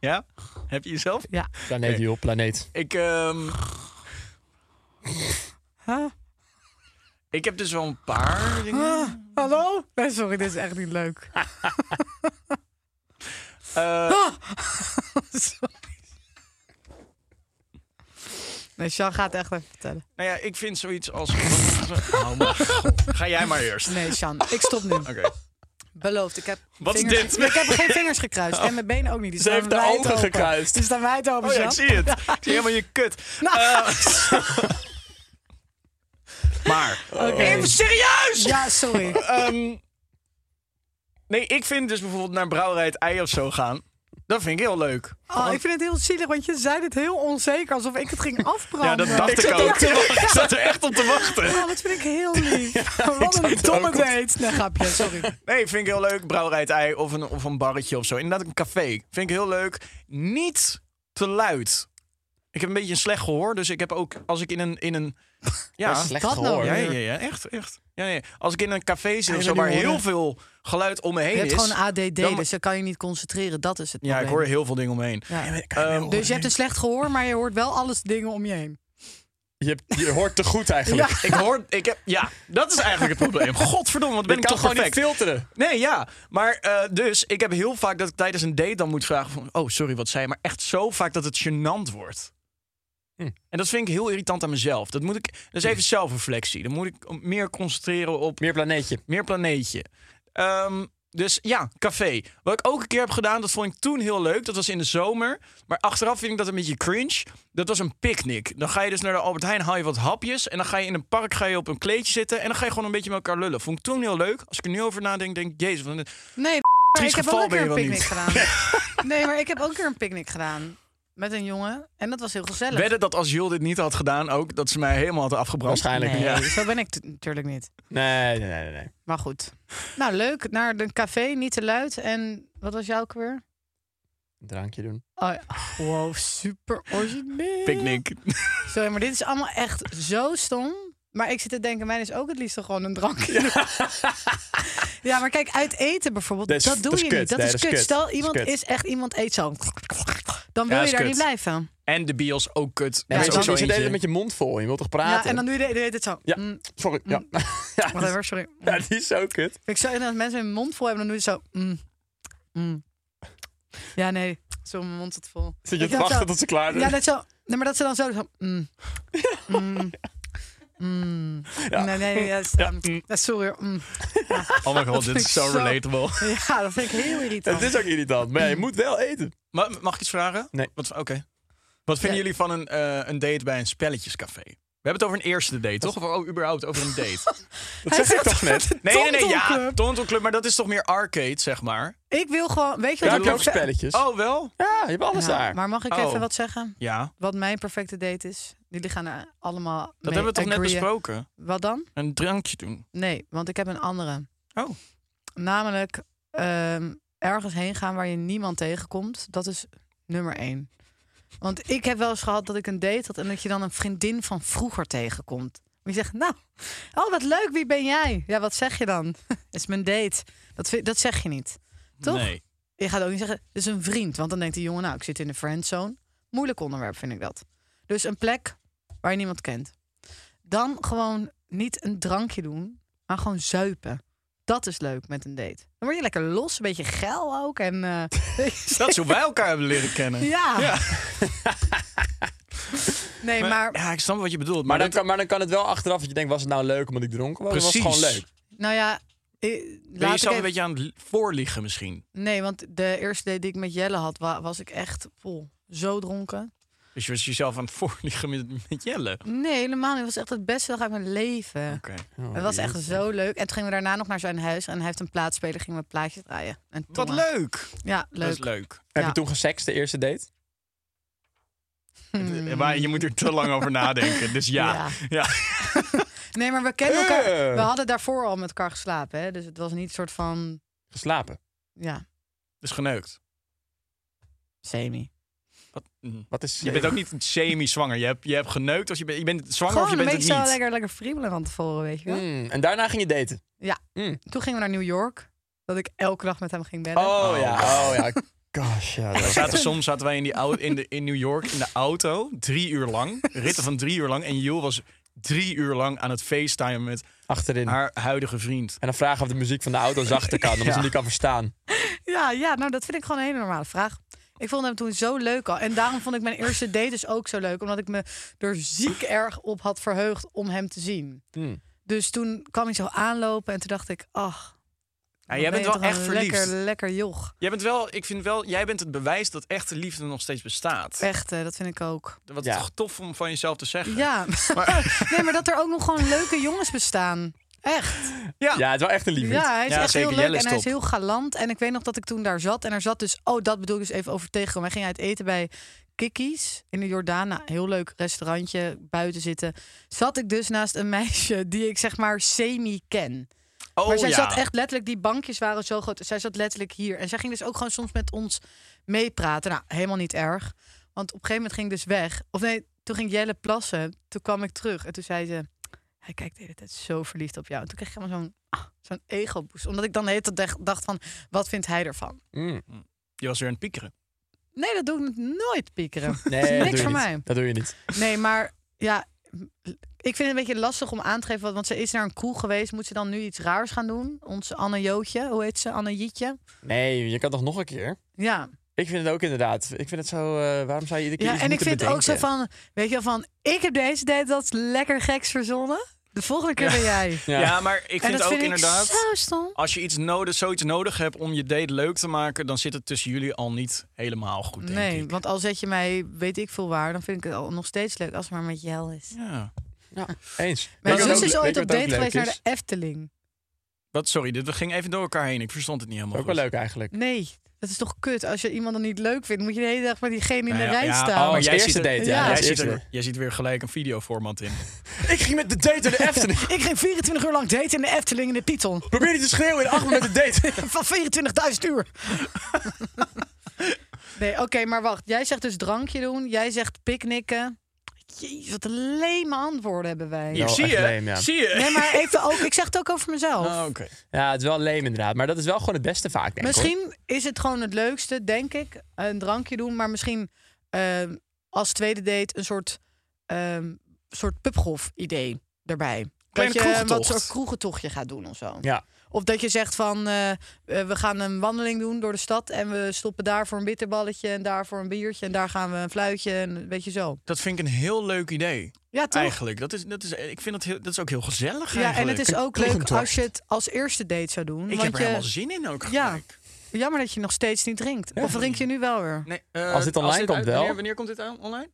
Speaker 4: Ja? Heb je jezelf?
Speaker 5: Planeet, joh, planeet.
Speaker 4: Ik, ehm,
Speaker 3: Huh?
Speaker 4: ik heb dus wel een paar dingen.
Speaker 3: Ah, hallo? Nee, sorry, dit is echt niet leuk.
Speaker 4: Eh,
Speaker 3: Sorry. Nee, Sean gaat echt even vertellen.
Speaker 4: nou ja, ik vind zoiets als... Oh, mijn god. Ga jij maar eerst. Oké.
Speaker 3: Nee, Sean, ik stop nu. Beloofd. Ik heb
Speaker 4: Wat is
Speaker 3: vingers-
Speaker 4: dit?
Speaker 3: Ik heb geen vingers gekruist. En mijn benen ook niet. Die
Speaker 5: Ze
Speaker 3: staan
Speaker 5: heeft de
Speaker 3: wijd
Speaker 5: ogen
Speaker 3: open.
Speaker 5: gekruist.
Speaker 3: Die staan wijd open,
Speaker 4: Oh ja, ik
Speaker 3: Sean.
Speaker 4: zie Ah, het. Ik zie helemaal je kut.
Speaker 3: Nou,
Speaker 4: Maar...
Speaker 3: oké.
Speaker 4: Even serieus!
Speaker 3: Ja, sorry.
Speaker 4: Ehm, nee, ik vind dus bijvoorbeeld naar Brouwerij het Ei of zo gaan. Dat vind ik heel leuk.
Speaker 3: Oh, ik vind het heel zielig, want je zei dit heel onzeker. Alsof ik het ging afbranden.
Speaker 4: Ja, dat dacht ik, ook. Ik zat er echt op te wachten.
Speaker 3: Oh, dat vind ik heel lief. Wat een domme date. Nee, grapje, sorry.
Speaker 4: Nee, vind ik heel leuk. Brouwerij het Ei of een, of een barretje of zo. Inderdaad, een café. Vind ik heel leuk. Niet te luid. Ik heb een beetje een slecht gehoor, dus ik heb ook als ik in een. In een ja,
Speaker 5: Slecht
Speaker 3: dat nou
Speaker 5: gehoor.
Speaker 4: ja,
Speaker 3: weer?
Speaker 4: ja, ja, echt, echt. Ja, nee. Als ik in een café zit
Speaker 5: je
Speaker 4: of zo,
Speaker 5: dat
Speaker 4: waar
Speaker 5: nu
Speaker 4: heel
Speaker 5: horen?
Speaker 4: veel geluid om me heen
Speaker 3: Je hebt
Speaker 4: is.
Speaker 3: gewoon ADD,
Speaker 4: dan-
Speaker 3: dus dan kan je niet concentreren. Dat is het
Speaker 4: ja, ik hoor
Speaker 3: probleem.
Speaker 4: heel veel dingen om me heen.
Speaker 3: Ja.
Speaker 4: Ehm,
Speaker 3: Dus je hebt een slecht gehoor, maar je hoort wel alles dingen om je heen.
Speaker 5: Je, hebt- je hoort te goed eigenlijk.
Speaker 3: Ja.
Speaker 4: Ik hoor, ik heb, ja, dat is eigenlijk het probleem. Godverdomme, wat ben
Speaker 5: Je
Speaker 4: ik
Speaker 5: kan
Speaker 4: toch
Speaker 5: gewoon
Speaker 4: perfect.
Speaker 5: niet filteren.
Speaker 4: Nee, ja. Maar eh, dus, ik heb heel vaak dat ik tijdens een date dan moet vragen van... Oh, sorry, wat zei je? Maar echt zo vaak dat het gênant wordt.
Speaker 5: Hm.
Speaker 4: En dat vind ik heel irritant aan mezelf. Dat moet ik... Dat is even zelfreflectie. Dan moet ik meer concentreren op
Speaker 5: Meer planeetje.
Speaker 4: meer planeetje. Ehm, dus ja, café. Wat ik ook een keer heb gedaan, dat vond ik toen heel leuk. Dat was in de zomer. Maar achteraf vind ik dat een beetje cringe. Dat was een picknick. Dan ga je dus naar de Albert Heijn, haal je wat hapjes. En dan ga je in een park ga je op een kleedje zitten. En dan ga je gewoon een beetje met elkaar lullen. Vond ik toen heel leuk. Als ik er nu over nadenk, denk ik, jezus, wat een
Speaker 3: Nee, maar
Speaker 4: triest
Speaker 3: ik heb
Speaker 4: geval
Speaker 3: ook een
Speaker 4: ben
Speaker 3: keer
Speaker 4: je
Speaker 3: een
Speaker 4: wel
Speaker 3: picknick
Speaker 4: niet.
Speaker 3: gedaan. Nee, maar ik heb ook een keer een picknick gedaan. Met een jongen. En dat was heel gezellig.
Speaker 4: Wedden dat als Jules dit niet had gedaan ook, dat ze mij helemaal had afgebrand.
Speaker 5: Waarschijnlijk.
Speaker 3: Nee,
Speaker 5: Nee.
Speaker 3: zo ben ik t- natuurlijk niet.
Speaker 5: Nee, nee, nee, nee.
Speaker 3: Maar goed. Nou, leuk. Naar een café, niet te luid. En wat was jouw weer?
Speaker 5: Een drankje doen.
Speaker 3: Oh, ja. Wow, super origineel.
Speaker 4: Picknick.
Speaker 3: Sorry, maar dit is allemaal echt zo stom. Maar ik zit te denken, mij is ook het liefste gewoon een drankje. Ja, maar kijk, uit eten bijvoorbeeld,
Speaker 5: Dat is-
Speaker 3: dat doe
Speaker 5: dat is
Speaker 3: je
Speaker 5: kut.
Speaker 3: niet. Dat
Speaker 5: Nee,
Speaker 3: is kut. Stel,
Speaker 5: Dat is
Speaker 3: iemand
Speaker 5: kut.
Speaker 3: is echt, iemand eet zo. Dan wil
Speaker 4: Ja,
Speaker 3: je
Speaker 4: is
Speaker 3: daar
Speaker 4: kut.
Speaker 3: niet blijven.
Speaker 4: En de bios ook kut.
Speaker 5: Nee,
Speaker 4: Dat
Speaker 5: maar
Speaker 4: is
Speaker 5: je
Speaker 4: ook
Speaker 5: zit-
Speaker 4: zo
Speaker 5: je zit de hele
Speaker 4: eentje.
Speaker 5: tijd met je mond vol. en Je wilt toch
Speaker 3: Ja,
Speaker 5: praten?
Speaker 3: en dan doe je de- de heet het zo.
Speaker 5: Ja.
Speaker 3: Mm,
Speaker 5: Sorry. Ja. ja, dat is-
Speaker 3: whatever, sorry.
Speaker 5: ja, die is zo kut.
Speaker 3: Ik zou inderdaad mensen hun mond vol hebben, dan doe je zo. mm, mm. Ja, nee, zo mijn mond zit vol.
Speaker 5: Zit je
Speaker 3: Ik
Speaker 5: te
Speaker 3: dacht
Speaker 5: wachten
Speaker 3: zo-
Speaker 5: tot ze klaar
Speaker 3: Ja,
Speaker 5: zijn?
Speaker 3: net zo. Nee, maar dat ze dan zo. zo mm, mm, mm. Nee, nee, ja, is, um, ja, sorry. hoor, mm.
Speaker 4: Oh my god,
Speaker 3: Dat
Speaker 4: dit
Speaker 3: vind
Speaker 4: is
Speaker 3: ik
Speaker 4: zo
Speaker 3: zo-
Speaker 4: relatable.
Speaker 3: Ja, dat vind ik heel irritant.
Speaker 5: Het is ook irritant. Maar ja, je moet wel eten.
Speaker 4: Ma- mag ik iets vragen?
Speaker 5: Nee.
Speaker 4: Wat- Oké. Wat vinden
Speaker 3: Ja.
Speaker 4: jullie van een, eh, een date bij een spelletjescafé? We hebben het over een eerste date, toch? Of oh, überhaupt over een date?
Speaker 5: Dat zeg ik toch net.
Speaker 4: Nee, nee, nee. Ja,
Speaker 3: Tontelclub.
Speaker 4: Tontelclub, maar dat is toch meer arcade, zeg maar?
Speaker 3: Ik wil gewoon. Weet je
Speaker 5: Daar
Speaker 3: wat
Speaker 5: heb
Speaker 3: ik
Speaker 5: je
Speaker 3: wil Nou,
Speaker 5: ook spelletjes.
Speaker 4: Oh, wel?
Speaker 5: Ja, je hebt alles daar.
Speaker 3: Maar mag ik
Speaker 4: Oh.
Speaker 3: even wat zeggen?
Speaker 4: Ja.
Speaker 3: Wat mijn perfecte date is. Jullie gaan er allemaal. mee
Speaker 4: Dat hebben we toch net
Speaker 3: agreeën.
Speaker 4: besproken?
Speaker 3: Wat dan?
Speaker 4: Een drankje doen.
Speaker 3: Nee, want ik heb een andere.
Speaker 4: Oh.
Speaker 3: Namelijk ehm, ergens heen gaan waar je niemand tegenkomt. Dat is nummer één. Want ik heb wel eens gehad dat ik een date had en dat je dan een vriendin van vroeger tegenkomt. En je zegt, nou, oh wat leuk, wie ben jij? Ja, wat zeg je dan? Dat is mijn date. Dat, vind- dat zeg je niet. Toch?
Speaker 4: Nee.
Speaker 3: Je gaat ook niet zeggen, het is een vriend. Want dan denkt die jongen, nou, ik zit in de friendzone. Moeilijk onderwerp vind ik dat. Dus een plek waar je niemand kent. Dan gewoon niet een drankje doen, maar gewoon zuipen. Dat is leuk met een date. Dan word je lekker los, een beetje geil ook. En, eh,
Speaker 4: Dat is hoe wij elkaar hebben leren kennen.
Speaker 3: ja. nee, maar,
Speaker 4: Ja, ik snap wat je bedoelt.
Speaker 5: Maar
Speaker 4: Maar,
Speaker 5: dan,
Speaker 4: dat,
Speaker 5: kan, maar dan kan het wel achteraf dat je denkt, was het nou leuk omdat ik dronken was?
Speaker 4: precies.
Speaker 5: Of was het gewoon leuk?
Speaker 3: nou ja... eh,
Speaker 4: Ben je
Speaker 3: laat ik
Speaker 4: zelf een
Speaker 3: even-
Speaker 4: beetje aan het li- voorliegen misschien?
Speaker 3: Nee, want de eerste date die ik met Jelle had, wa- was ik echt vol. Zo dronken.
Speaker 4: Dus je was jezelf aan het voorliegen met, met Jelle. Oké.
Speaker 3: Nee, helemaal niet. Het was echt het beste dag uit mijn leven.
Speaker 4: Oh,
Speaker 3: het was echt zo leuk. En toen gingen we daarna nog naar zijn huis. En hij heeft een plaatspeler, gingen we plaatjes draaien. En
Speaker 4: Wat
Speaker 3: tongen.
Speaker 4: leuk.
Speaker 3: Ja,
Speaker 4: Dat
Speaker 3: leuk.
Speaker 4: is leuk.
Speaker 5: Heb
Speaker 3: Ja.
Speaker 5: je toen gesext, de eerste date?
Speaker 4: Maar eh, je moet er te lang over nadenken. Dus ja.
Speaker 3: Mm. Ja.
Speaker 4: ja.
Speaker 3: Nee, maar we kennen elkaar.
Speaker 5: Eh.
Speaker 3: We hadden daarvoor al met elkaar geslapen. Hè? Dus het was niet een soort van,
Speaker 5: Geslapen.
Speaker 3: ja,
Speaker 4: Dus geneukt.
Speaker 3: semi.
Speaker 4: Wat? Mm.
Speaker 5: Wat is
Speaker 4: Je bent ook niet semi-zwanger. Je hebt, je hebt geneukt of je bent, je bent zwanger
Speaker 3: Gewoon
Speaker 4: of je
Speaker 3: een
Speaker 4: bent
Speaker 3: beetje
Speaker 4: het
Speaker 3: zo
Speaker 4: niet.
Speaker 3: lekker, lekker friemelen van tevoren, weet je wel.
Speaker 5: Mm, en daarna ging je daten.
Speaker 4: Mm,
Speaker 3: Toen gingen we naar New York. Dat ik elke dag met hem ging bellen.
Speaker 5: Oh, ja, oh ja. Gosh, ja. dat
Speaker 4: We
Speaker 5: was-
Speaker 4: zaten, soms zaten wij in, die au- in, de, in New York in de auto, drie uur lang. Ritten van drie uur lang. En Jules was drie uur lang aan het facetimen met
Speaker 5: Achterin. En
Speaker 4: haar huidige vriend.
Speaker 5: dan vragen of de muziek van de auto zachter kan, omdat ze niet kan verstaan.
Speaker 3: Ja, ja, nou dat vind ik gewoon een hele normale vraag. Ik vond hem toen zo leuk al. En daarom vond ik mijn eerste date dus ook zo leuk. Omdat ik me er ziek erg op had verheugd om hem te zien.
Speaker 5: Hmm.
Speaker 3: Dus toen kwam hij zo aanlopen en toen dacht ik, ach.
Speaker 4: Ja,
Speaker 3: wat ben
Speaker 4: jij bent
Speaker 3: je
Speaker 4: wel
Speaker 3: toch
Speaker 4: echt
Speaker 3: een
Speaker 4: verliefd.
Speaker 3: Lekker, lekker joch.
Speaker 4: Jij bent wel, ik vind wel, jij bent het bewijs dat echte liefde nog steeds bestaat.
Speaker 3: Echt, hè, dat vind ik ook.
Speaker 4: Wat
Speaker 5: Ja.
Speaker 4: toch tof om van jezelf te zeggen.
Speaker 3: Ja,
Speaker 4: Maar-
Speaker 3: nee, maar dat er ook nog gewoon leuke jongens bestaan. Echt.
Speaker 5: Ja, het is wel echt een liefde.
Speaker 3: Ja, hij is
Speaker 4: Ja,
Speaker 3: echt
Speaker 4: zeker.
Speaker 3: heel
Speaker 4: Jelle
Speaker 3: leuk
Speaker 4: is
Speaker 3: en hij is
Speaker 4: top.
Speaker 3: heel galant. En ik weet nog dat ik toen daar zat. En er zat dus, oh, dat bedoel ik dus even over tegenkomen. Hij ging uit eten bij Kikki's in de Jordaan. Nou, heel leuk restaurantje, buiten zitten. Zat ik dus naast een meisje die ik zeg maar semi ken.
Speaker 4: Oh
Speaker 3: maar zij
Speaker 4: ja.
Speaker 3: zat echt letterlijk, die bankjes waren zo groot. Zij zat letterlijk hier. En zij ging dus ook gewoon soms met ons meepraten. Nou, helemaal niet erg. Want op een gegeven moment ging ik dus weg. Of nee, toen ging Jelle plassen. Toen kwam ik terug en toen zei ze... Hij kijkt de hele tijd zo verliefd op jou. En toen kreeg ik helemaal zo'n ah, zo'n ego-boost. Omdat ik dan de hele tijd dacht- dacht van, wat vindt hij ervan?
Speaker 5: Mm.
Speaker 4: Je was weer aan het piekeren.
Speaker 3: Nee, dat doe ik nooit piekeren.
Speaker 5: Nee,
Speaker 3: niks
Speaker 5: dat doe je
Speaker 3: voor
Speaker 5: niet.
Speaker 3: mij.
Speaker 5: Dat doe je niet.
Speaker 3: Nee, maar ja, ik vind het een beetje lastig om aan te geven. want- Want ze is naar een kroeg geweest. Moet ze dan nu iets raars gaan doen? Onze Anne Jootje, hoe heet ze? Anne Jietje?
Speaker 5: Nee, je kan toch nog een keer?
Speaker 3: Ja,
Speaker 5: Ik vind het ook inderdaad. Ik vind het zo. eh, waarom zou je iedere keer.
Speaker 4: dus
Speaker 3: ja
Speaker 5: iets
Speaker 3: en ik
Speaker 5: moeten
Speaker 3: vind ook zo
Speaker 5: bedenken?
Speaker 3: van, weet je wel, van... Ik heb deze date dat lekker geks verzonnen. De volgende keer ben jij.
Speaker 4: Ja,
Speaker 5: Ja.
Speaker 4: maar ik
Speaker 3: en
Speaker 4: vind
Speaker 3: dat
Speaker 4: ook
Speaker 3: vind
Speaker 4: inderdaad... Oh,
Speaker 3: ik zo stom.
Speaker 4: Als je iets nodig, zoiets nodig hebt om je date leuk te maken... dan zit het tussen jullie al niet helemaal goed, denk
Speaker 3: Nee,
Speaker 4: ik.
Speaker 3: want al zet je mij, weet ik veel waar... dan vind ik het al nog steeds leuk als het maar met Jel is.
Speaker 4: Ja.
Speaker 5: Eens.
Speaker 3: Mijn
Speaker 5: Weet je
Speaker 3: zus
Speaker 5: wat
Speaker 3: is
Speaker 5: ook-
Speaker 3: ooit
Speaker 5: weet
Speaker 3: op
Speaker 5: je wat ook
Speaker 3: date geweest naar
Speaker 5: leuk
Speaker 3: de
Speaker 5: is?
Speaker 3: Efteling.
Speaker 4: Wat, sorry, dit ging even door elkaar heen. Ik verstond het niet helemaal
Speaker 5: Ook wel
Speaker 4: goed.
Speaker 5: leuk eigenlijk.
Speaker 3: Nee, dat is toch kut? Als je iemand dan niet leuk vindt... moet je de hele dag met diegene in de
Speaker 4: Nou ja,
Speaker 3: rij
Speaker 4: ja,
Speaker 3: staan.
Speaker 4: oh,
Speaker 5: Als
Speaker 4: jij
Speaker 5: eerste
Speaker 4: ziet er-
Speaker 5: date,
Speaker 3: ja,
Speaker 4: ja,
Speaker 3: als
Speaker 4: jij, ziet
Speaker 5: eerste.
Speaker 4: er, jij ziet weer gelijk een videoformat in.
Speaker 5: Ik ging met de date naar de Efteling.
Speaker 3: Ik ging 24 uur lang daten in de Efteling in de Python.
Speaker 5: Probeer niet te schreeuwen in acht met de date.
Speaker 3: Van 24.000 uur. nee, oké, maar wacht. Jij zegt dus drankje doen. Jij zegt picknicken. Jezus, wat een leme antwoorden hebben wij.
Speaker 5: Ja. Wel
Speaker 4: zie
Speaker 5: echt
Speaker 4: je?
Speaker 5: leem, ja.
Speaker 4: Zie je?
Speaker 3: Nee, maar even ook, ik zeg het ook over mezelf.
Speaker 5: Nou,
Speaker 4: Oh, Oké.
Speaker 5: Ja, het is wel leem inderdaad. Maar dat is wel gewoon het beste vaak, denk ik. hoor.
Speaker 3: misschien is het gewoon het leukste, denk ik, een drankje doen. Maar misschien ehm, als tweede date een soort, ehm soort pubgolf idee erbij.
Speaker 4: Kleine
Speaker 3: dat je een wat
Speaker 4: kroegentocht.
Speaker 3: soort kroegentochtje gaat doen of zo.
Speaker 5: Ja.
Speaker 3: Of dat je zegt van eh, eh, we gaan een wandeling doen door de stad en we stoppen daar voor een bitterballetje en daar voor een biertje en daar gaan we een fluitje en een beetje zo.
Speaker 4: Dat vind ik een heel leuk idee.
Speaker 3: Ja, toch?
Speaker 4: Eigenlijk. Dat is, dat is, ik vind dat, heel, dat is ook heel gezellig.
Speaker 3: ja, en het is
Speaker 4: eigenlijk.
Speaker 3: ook leuk als je het als eerste date zou doen.
Speaker 4: Ik
Speaker 3: want
Speaker 4: heb er
Speaker 3: je,
Speaker 4: helemaal zin in ook.
Speaker 3: Ja.
Speaker 4: Gelijk.
Speaker 3: Jammer dat je nog steeds niet drinkt. Of drink je nu wel weer?
Speaker 4: Nee, eh,
Speaker 5: Als dit online komt
Speaker 4: uit-
Speaker 5: wel.
Speaker 4: Wanneer, wanneer komt dit aan, online?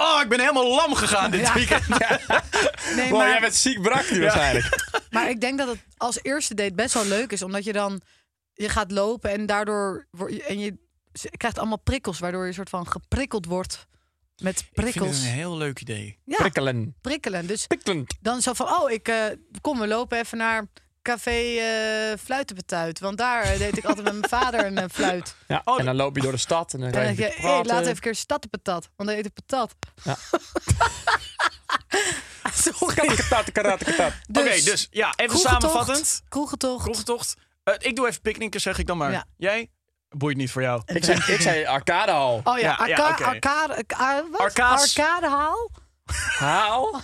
Speaker 4: Oh, ik ben helemaal lam gegaan dit weekend.
Speaker 3: Nee,
Speaker 5: Wow,
Speaker 3: maar,
Speaker 5: jij bent ziek brak nu waarschijnlijk.
Speaker 3: maar ik denk dat het als eerste date best wel leuk is. Omdat je dan je gaat lopen en daardoor wor- en je z- krijgt allemaal prikkels, waardoor je soort van geprikkeld wordt met
Speaker 4: Ik vind
Speaker 3: prikkels.
Speaker 4: het een heel leuk idee.
Speaker 3: Ja,
Speaker 5: Prikkelen.
Speaker 3: prikkelen. Dus
Speaker 5: Prikkelend.
Speaker 3: dan zo van, oh, ik eh, kom, we lopen even naar café eh Fluitenbetuit. Want daar eh, deed ik altijd met mijn vader een eh, fluit.
Speaker 5: Ja, en dan loop je door de stad en dan
Speaker 3: En
Speaker 5: ga je
Speaker 3: dan
Speaker 5: een
Speaker 3: denk
Speaker 5: beetje
Speaker 3: je, hey, laat
Speaker 5: praten.
Speaker 3: even een keer staddenpatat. Want dan eet ik patat.
Speaker 5: Ja.
Speaker 3: Sorry.
Speaker 5: Karate, karate, karate.
Speaker 3: Dus,
Speaker 4: Oké, dus ja, even
Speaker 3: kroegentocht,
Speaker 4: samenvattend.
Speaker 3: Kroegentocht.
Speaker 4: Kroegentocht. Eh, ik doe even picknicken, zeg ik dan maar.
Speaker 3: Ja.
Speaker 4: Jij? Boeit niet voor jou.
Speaker 5: Ik zei, ik zei arcade al.
Speaker 3: Oh ja,
Speaker 4: Ja,
Speaker 3: arca
Speaker 4: ja, oké.
Speaker 3: arcade, arca- wat?
Speaker 4: Arcaas.
Speaker 3: arcadehal?
Speaker 5: Haal.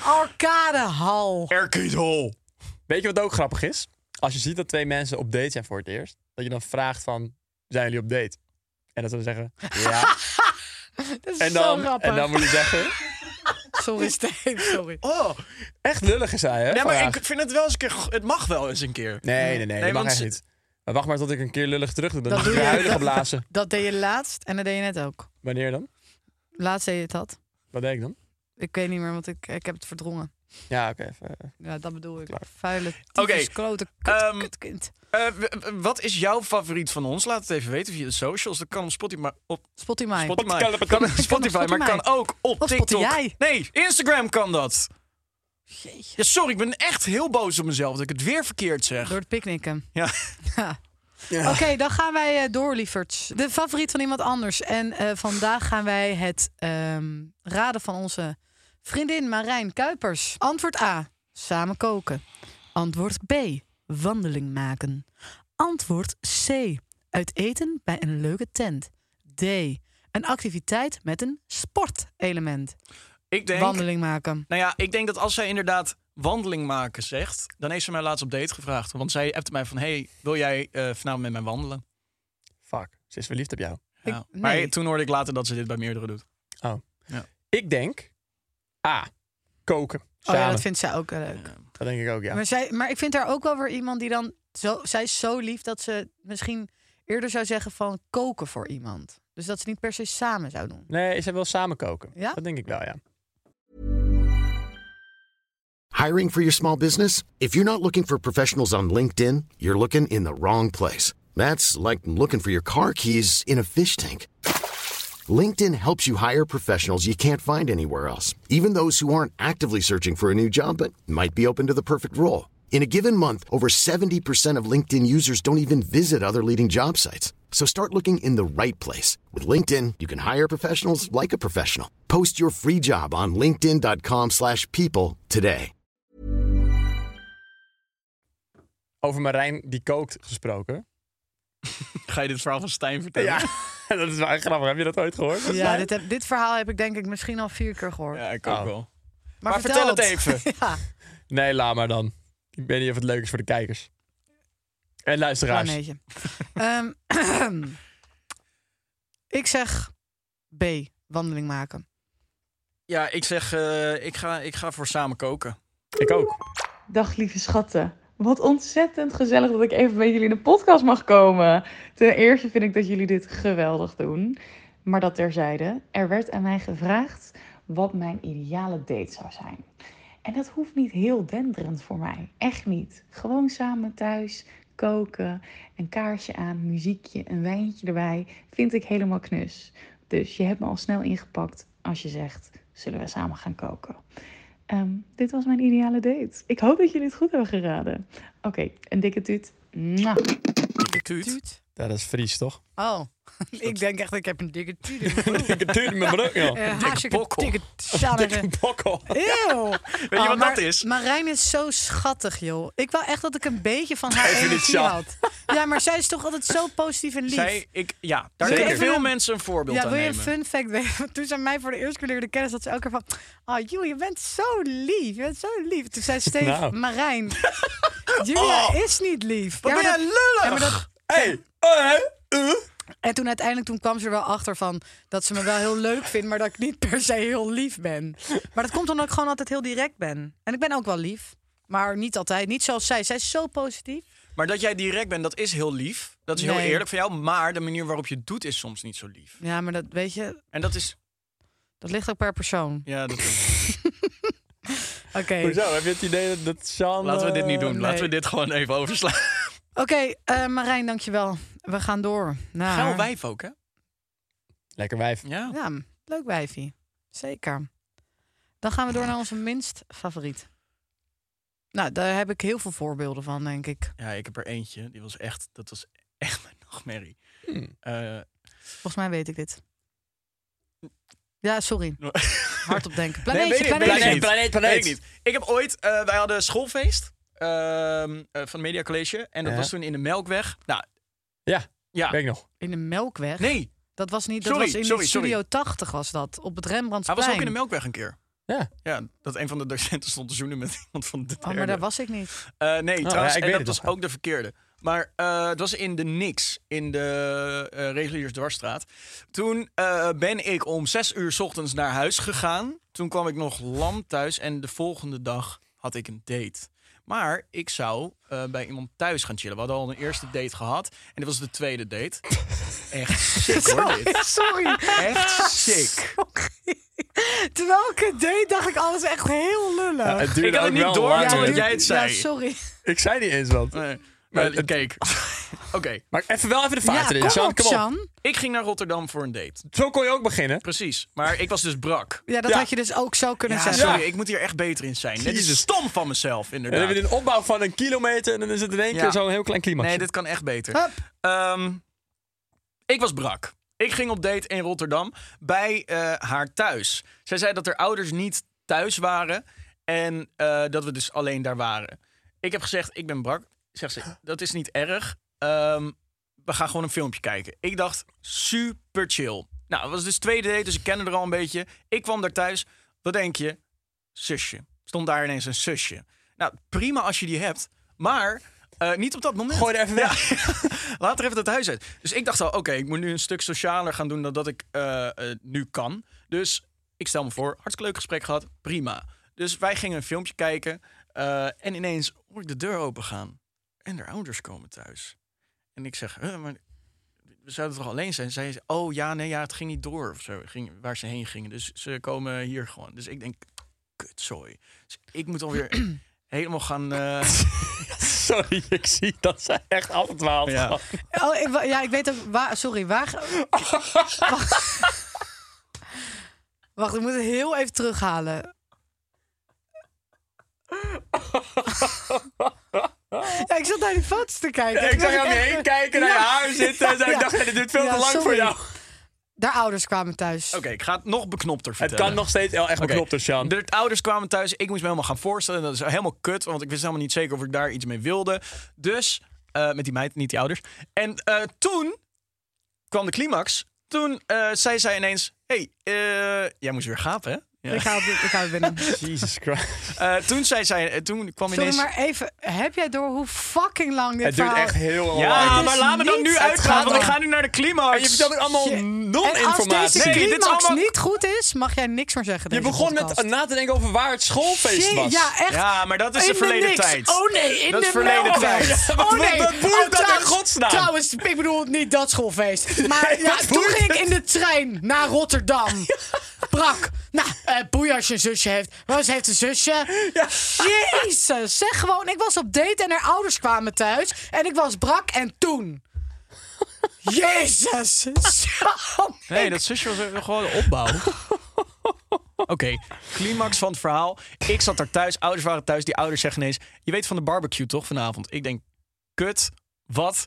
Speaker 3: Arcadehal.
Speaker 4: Arcade Hall.
Speaker 5: Weet je wat ook grappig is? Als je ziet dat twee mensen op date zijn voor het eerst, dat je dan vraagt van, zijn jullie op date? En dat ze dan zeggen, ja.
Speaker 3: Dat is
Speaker 5: En
Speaker 3: zo
Speaker 5: dan,
Speaker 3: grappig.
Speaker 5: en dan moet je zeggen,
Speaker 3: Sorry, Steen, sorry.
Speaker 4: Oh,
Speaker 5: echt lullig is hij, hè?
Speaker 4: nee, maar
Speaker 5: vandaag.
Speaker 4: ik vind het wel eens een keer... go- Het mag wel eens een keer.
Speaker 5: Nee, nee, nee,
Speaker 4: Nee,
Speaker 5: dat mag
Speaker 4: want
Speaker 5: echt
Speaker 4: ze-
Speaker 5: niet. Maar wacht maar tot ik een keer lullig terug doe. Dan
Speaker 3: Dat
Speaker 5: moet ik
Speaker 3: doe
Speaker 5: weer
Speaker 3: je.
Speaker 5: huilen geblazen.
Speaker 3: Dat deed je laatst en dat deed je net ook.
Speaker 5: Wanneer dan?
Speaker 3: Laatst deed je het dat.
Speaker 5: Wat deed ik dan?
Speaker 3: Ik weet niet meer, want ik, ik heb het verdrongen.
Speaker 5: Ja, oké. even, eh,
Speaker 3: Ja, dat bedoel ik.
Speaker 5: Klaar.
Speaker 3: Vuile,
Speaker 4: Oké,
Speaker 3: tyfus, klote, kut,
Speaker 4: ehm,
Speaker 3: kutkind.
Speaker 4: Eh, w- w- wat is jouw favoriet van ons? Laat het even weten via de socials. Dat kan op Spotify, maar op
Speaker 3: Spot in mij.
Speaker 4: Spotify,
Speaker 5: Spotify.
Speaker 4: Kan op Spotify, maar
Speaker 3: Spotify.
Speaker 4: kan ook op
Speaker 3: Of
Speaker 4: TikTok.
Speaker 3: Spotify.
Speaker 4: Nee, Instagram kan dat. Ja, sorry, ik ben echt heel boos op mezelf dat ik het weer verkeerd zeg.
Speaker 3: Door het picknicken.
Speaker 4: Ja.
Speaker 3: Ja. Oké, dan gaan wij eh, door, lieverds. De favoriet van iemand anders. En eh, vandaag gaan wij het ehm, raden van onze vriendin Marijn Kuipers. Antwoord A, samen koken. Antwoord B, wandeling maken. Antwoord C, uit eten bij een leuke tent. D, een activiteit met een sportelement.
Speaker 4: Ik denk,
Speaker 3: Wandeling maken.
Speaker 4: nou ja, ik denk dat als zij inderdaad wandeling maken zegt, dan heeft ze mij laatst op date gevraagd. Want zij appte mij van, hey, wil jij eh, vanavond met mij wandelen?
Speaker 5: fuck, ze is verliefd op jou.
Speaker 4: Ja.
Speaker 3: Ik-
Speaker 4: Maar
Speaker 3: nee.
Speaker 4: toen hoorde ik later dat ze dit bij meerdere doet.
Speaker 5: Oh. Ik denk A. Koken.
Speaker 3: Oh
Speaker 5: Samen.
Speaker 3: ja, dat
Speaker 5: dat,
Speaker 3: vindt zij ook wel leuk.
Speaker 5: denk ik ook, ja.
Speaker 3: Maar, zij, maar ik vind haar ook wel weer iemand die dan... Zo, zij is zo lief dat ze misschien eerder zou zeggen van koken voor iemand. Dus dat ze niet per se samen zou doen.
Speaker 5: Nee, ze wil samen koken.
Speaker 3: Ja?
Speaker 5: Dat denk ik wel, ja.
Speaker 7: Hiring for your small business? If you're not looking for professionals on LinkedIn, you're looking in the wrong place. That's like looking for your car keys in a fish tank. LinkedIn helps you hire professionals you can't find anywhere else, even those who aren't actively searching for a new job but might be open to the perfect role. In a given month, over 70% of LinkedIn users don't even visit other leading job sites. So start looking in the right place. With LinkedIn, you can hire professionals like a professional. Post your free job on linkedin.com/people slash people today.
Speaker 5: Over Marijn die kookt gesproken.
Speaker 4: Ga je dit verhaal van Stijn vertellen?
Speaker 5: Ja, dat is wel echt grappig. Heb je dat ooit gehoord?
Speaker 3: Ja, dit, heb- dit verhaal heb ik denk ik misschien al vier keer gehoord.
Speaker 4: Ja, ik
Speaker 5: Oh.
Speaker 4: ook wel. Maar vertel het even.
Speaker 3: ja,
Speaker 5: Nee, laat maar dan. Ik weet niet of het leuk is voor de kijkers. En
Speaker 4: Oh,
Speaker 5: luisteraars.
Speaker 3: planeetje. Ehm, ik zeg B, wandeling maken.
Speaker 4: Ja, ik zeg, eh, ik, ga, ik ga voor samen koken.
Speaker 5: Ik ook.
Speaker 8: Dag lieve schatten. Wat ontzettend gezellig dat ik even bij jullie in de podcast mag komen. Ten eerste vind ik dat jullie dit geweldig doen. Maar dat terzijde, er werd aan mij gevraagd wat mijn ideale date zou zijn. En dat hoeft niet heel denderend voor mij. Echt niet. Gewoon samen thuis koken, een kaarsje aan, muziekje, een wijntje erbij. Vind ik helemaal knus. Dus je hebt me al snel ingepakt als je zegt: zullen we samen gaan koken? Ehm, dit was mijn ideale date. Ik hoop dat jullie het goed hebben geraden. Oké, een dikke tuut. Mwah.
Speaker 4: Dikke tuut.
Speaker 3: Tuut.
Speaker 5: Dat is Fries, toch?
Speaker 3: Oh, ik denk echt, ik heb een dikke tuut. in mijn broek.
Speaker 5: Ik heb tuurlijk mijn broek, joh.
Speaker 3: Eh, hartstikke
Speaker 4: bokkel.
Speaker 3: dikke tjallere.
Speaker 5: Dikke bokkel.
Speaker 3: Eeuw. Weet
Speaker 4: wat dat is?
Speaker 3: Marijn is zo schattig, joh. Ik wou echt dat ik een beetje van haar
Speaker 5: Even niet
Speaker 3: energie
Speaker 5: zacht.
Speaker 3: had. Ja, maar zij is toch altijd zo positief en lief.
Speaker 4: Zij, ik, ja, daar
Speaker 5: Zeker.
Speaker 4: kunnen
Speaker 3: Even
Speaker 4: veel
Speaker 3: een-
Speaker 4: mensen een voorbeeld
Speaker 3: ja,
Speaker 4: aan
Speaker 3: wil je
Speaker 4: nemen.
Speaker 3: een fun fact weten? Toen zij mij voor de eerste keer leerde kennis, had ze elke keer van... Oh, joh, je bent zo lief. Je bent zo lief. Toen zei Steve,
Speaker 5: Nou.
Speaker 3: Marijn... Julia is niet lief.
Speaker 4: Oh. Wat
Speaker 3: Ja,
Speaker 4: ben
Speaker 3: maar
Speaker 4: jij
Speaker 3: dat-
Speaker 4: lullig?
Speaker 3: ja, maar dat-
Speaker 5: Hey, oh, hè? Uh.
Speaker 3: En toen uiteindelijk toen kwam ze er wel achter van dat ze me wel heel leuk vindt, maar dat ik niet per se heel lief ben. Maar dat komt omdat ik gewoon altijd heel direct ben. En ik ben ook wel lief, maar niet altijd. Niet zoals zij. Zij is zo positief.
Speaker 4: Maar dat jij direct bent, dat is heel lief. Dat is heel
Speaker 3: Nee.
Speaker 4: eerlijk van jou. Maar de manier waarop je het doet is soms niet zo lief.
Speaker 3: Ja, maar dat weet je,
Speaker 4: En dat is...
Speaker 3: dat ligt ook per persoon.
Speaker 4: Ja, dat
Speaker 3: Oké.
Speaker 5: Hoezo? Heb je het idee dat, dat Sean...
Speaker 4: Laten we dit niet
Speaker 5: eh,
Speaker 4: doen. Laten we
Speaker 3: nee.
Speaker 4: dit gewoon even overslaan.
Speaker 3: Oké, eh, Marijn, dankjewel. We gaan door. Naar...
Speaker 4: Geil wijf ook, hè?
Speaker 5: Lekker wijf.
Speaker 4: Ja.
Speaker 3: Ja, leuk wijfie. Zeker. Dan gaan we door naar onze minst favoriet. Nou, daar heb ik heel veel voorbeelden van, denk ik.
Speaker 4: Ja, ik heb er eentje. Die was echt... Dat was echt mijn nachtmerrie.
Speaker 3: Hmm.
Speaker 4: Eh,
Speaker 3: Volgens mij weet ik dit. Ja, sorry.
Speaker 4: no-
Speaker 3: Hard op denken.
Speaker 4: Nee,
Speaker 3: Planeetje,
Speaker 4: weet ik-
Speaker 3: planeetje.
Speaker 4: weet ik niet.
Speaker 5: planeet,
Speaker 4: Weet
Speaker 5: planeet.
Speaker 4: ik niet. Ik heb ooit, eh, wij hadden schoolfeest ehm, eh, van Media College. En dat
Speaker 5: Ja.
Speaker 4: was toen in de Melkweg. Nou,
Speaker 5: Ja,
Speaker 4: ja.
Speaker 5: weet ik nog.
Speaker 3: In de Melkweg?
Speaker 4: Nee,
Speaker 3: Dat was niet, dat
Speaker 4: Sorry,
Speaker 3: was in
Speaker 4: sorry,
Speaker 3: de
Speaker 4: sorry.
Speaker 3: Studio 80 was dat. Op het
Speaker 4: hij
Speaker 3: Rembrandtsplein.
Speaker 4: was ook in de Melkweg een keer.
Speaker 5: Ja.
Speaker 4: Ja, dat een van de docenten stond te zoenen met iemand van de
Speaker 3: Oh,
Speaker 4: derde.
Speaker 3: maar daar was ik niet.
Speaker 4: Eh, nee, trouwens,
Speaker 5: Oh, ja, ik
Speaker 4: en
Speaker 5: weet
Speaker 4: dat
Speaker 5: het
Speaker 4: was
Speaker 5: nog.
Speaker 4: ook de verkeerde. Maar eh, het was in de niks, in de eh Reguliersdwarsstraat. Toen eh, ben ik om zes uur 's ochtends naar huis gegaan. Toen kwam ik nog lam thuis en de volgende dag had ik een date. Maar ik zou eh, bij iemand thuis gaan chillen. We hadden al een eerste date gehad en dit was de tweede date. Echt sick hoor dit.
Speaker 3: Sorry.
Speaker 4: Echt sick.
Speaker 3: Terwijl ik het deed, dacht ik alles echt heel lullig.
Speaker 5: Ja, het duurde
Speaker 4: Ik had
Speaker 5: ook
Speaker 4: het niet
Speaker 5: wel
Speaker 4: door
Speaker 5: lang,
Speaker 4: totdat
Speaker 5: hoor.
Speaker 4: jij het zei.
Speaker 3: Ja, sorry.
Speaker 5: Ik zei niet eens wat.
Speaker 4: Nee,
Speaker 5: Maar
Speaker 4: maar
Speaker 5: het-
Speaker 4: kijk. Oké,
Speaker 5: Maar even wel even de vaart
Speaker 3: ja,
Speaker 5: erin,
Speaker 3: kom
Speaker 5: Sean.
Speaker 3: op, Sjan.
Speaker 4: ik ging naar Rotterdam voor een date.
Speaker 5: Zo kon je ook beginnen.
Speaker 4: Precies, maar ik was dus brak.
Speaker 3: Ja, dat
Speaker 5: Ja.
Speaker 3: had je dus ook zo kunnen
Speaker 4: Ja,
Speaker 3: zeggen.
Speaker 4: sorry, ik moet hier echt beter in zijn. Dit is
Speaker 5: Jezus.
Speaker 4: stom van mezelf,
Speaker 5: En dan
Speaker 4: inderdaad.
Speaker 5: heb je een opbouw van een kilometer en dan is het in één
Speaker 4: Ja.
Speaker 5: keer zo'n heel klein klimax.
Speaker 4: Nee, dit kan echt beter.
Speaker 3: Hup.
Speaker 4: Ehm, ik was brak. Ik ging op date in Rotterdam bij eh, haar thuis. Zij zei dat haar ouders niet thuis waren en eh, dat we dus alleen daar waren. Ik heb gezegd, ik ben brak. Zegt ze, dat is niet erg. Ehm, we gaan gewoon een filmpje kijken. Ik dacht, super chill. Nou, het was dus tweede date, dus ik kende er al een beetje. Ik kwam daar thuis. Wat denk je? Zusje. Stond daar ineens een zusje. Nou, prima als je die hebt, maar eh, niet op dat moment.
Speaker 5: Gooi er even weg.
Speaker 4: Ja. Laat er even het huis uit. Dus ik dacht al, oké, ik moet nu een stuk socialer gaan doen dan dat ik eh, eh, nu kan. Dus ik stel me voor, hartstikke leuk gesprek gehad, prima. Dus wij gingen een filmpje kijken eh, en ineens hoor ik de deur opengaan. En haar ouders komen thuis. En ik zeg, "Huh, maar we zouden toch alleen zijn? Zij zei, oh ja, nee, ja, het ging niet door of zo, ging, waar ze heen gingen. Dus ze komen hier gewoon. Dus ik denk, kutzooi. Dus ik moet alweer helemaal gaan... eh,
Speaker 5: Sorry, ik zie dat ze echt afdwaalt.
Speaker 4: Ja.
Speaker 5: Ja.
Speaker 3: Oh, ik, wa- ja, ik weet ook... Waar, sorry, waar... Wacht. Wacht, ik moet het heel even terughalen. Ja, ik zat naar die foto's te kijken.
Speaker 5: ik zag
Speaker 3: Toen
Speaker 5: jou om
Speaker 3: dacht
Speaker 5: je
Speaker 3: echt,
Speaker 5: heen kijken, naar je
Speaker 3: Ja.
Speaker 5: haar zitten. en zo.
Speaker 3: Ja.
Speaker 5: Ik dacht, dit duurt veel
Speaker 3: Ja,
Speaker 5: te lang voor
Speaker 3: sorry.
Speaker 5: jou. Oh,
Speaker 3: Daar ouders kwamen thuis.
Speaker 4: Oké, ik ga het nog beknopter
Speaker 5: Het
Speaker 4: vertellen.
Speaker 5: kan nog steeds wel echt
Speaker 4: Oké.
Speaker 5: beknopt door Sjan.
Speaker 4: De ouders kwamen thuis. Ik moest me helemaal gaan voorstellen. Dat is helemaal kut, want ik wist helemaal niet zeker of ik daar iets mee wilde. Dus, eh, met die meid, niet die ouders. En eh, toen kwam de climax. Toen eh, zei zij ineens... hey, eh, jij moest weer gapen, hè? Ja.
Speaker 3: Ik, hou, het- ik hou het binnen.
Speaker 5: Jesus Christ.
Speaker 4: Eh, toen, zei zij, eh, toen kwam
Speaker 3: Sorry,
Speaker 4: ineens...
Speaker 3: maar even. Heb jij door hoe fucking lang dit
Speaker 5: Het duurt
Speaker 3: verhaal-
Speaker 5: echt heel lang.
Speaker 4: Ja,
Speaker 3: Oh, Het is
Speaker 4: maar laat me dan
Speaker 3: niet-
Speaker 4: nu
Speaker 3: Het
Speaker 4: uitgaan,
Speaker 3: gaat
Speaker 4: want ik
Speaker 3: om-
Speaker 4: ga nu naar de climax.
Speaker 5: En je vertelt het allemaal
Speaker 3: Shit.
Speaker 5: non-informatie.
Speaker 3: En als deze
Speaker 4: Nee, dit is
Speaker 3: climax
Speaker 4: allemaal-
Speaker 3: niet goed is, mag jij niks meer zeggen.
Speaker 5: Je
Speaker 3: deze
Speaker 5: begon
Speaker 3: podcast.
Speaker 5: met na te denken over waar het schoolfeest
Speaker 3: Shit,
Speaker 5: was.
Speaker 3: Ja, echt.
Speaker 4: Ja, maar dat is
Speaker 3: in
Speaker 4: de verleden
Speaker 3: niks.
Speaker 4: tijd.
Speaker 3: Oh nee, in
Speaker 4: Dat
Speaker 3: de
Speaker 4: is verleden
Speaker 3: nul.
Speaker 4: tijd.
Speaker 5: Ja,
Speaker 3: Oh
Speaker 5: wat-
Speaker 3: nee,
Speaker 5: wat boeit
Speaker 3: Oh,
Speaker 5: dat in
Speaker 3: trouwens-
Speaker 5: godsnaam?
Speaker 3: Trouwens, ik bedoel niet dat schoolfeest. Maar
Speaker 5: Nee,
Speaker 3: ja, toen
Speaker 5: wat boeit
Speaker 3: ging ik
Speaker 5: het?
Speaker 3: in de trein naar Rotterdam. Brak. Nou, eh boeien als je een zusje heeft. Roos heeft een zusje. Jezus, zeg gewoon. Ik was op date en haar ouders kwamen thuis. En ik was brak en toen. Jezus. Sam.
Speaker 4: Nee, dat zusje was ook gewoon een opbouw. Oké, climax van het verhaal. Ik zat daar thuis, ouders waren thuis. Die ouders zeggen ineens, je weet van de barbecue toch vanavond? Ik denk, kut, wat?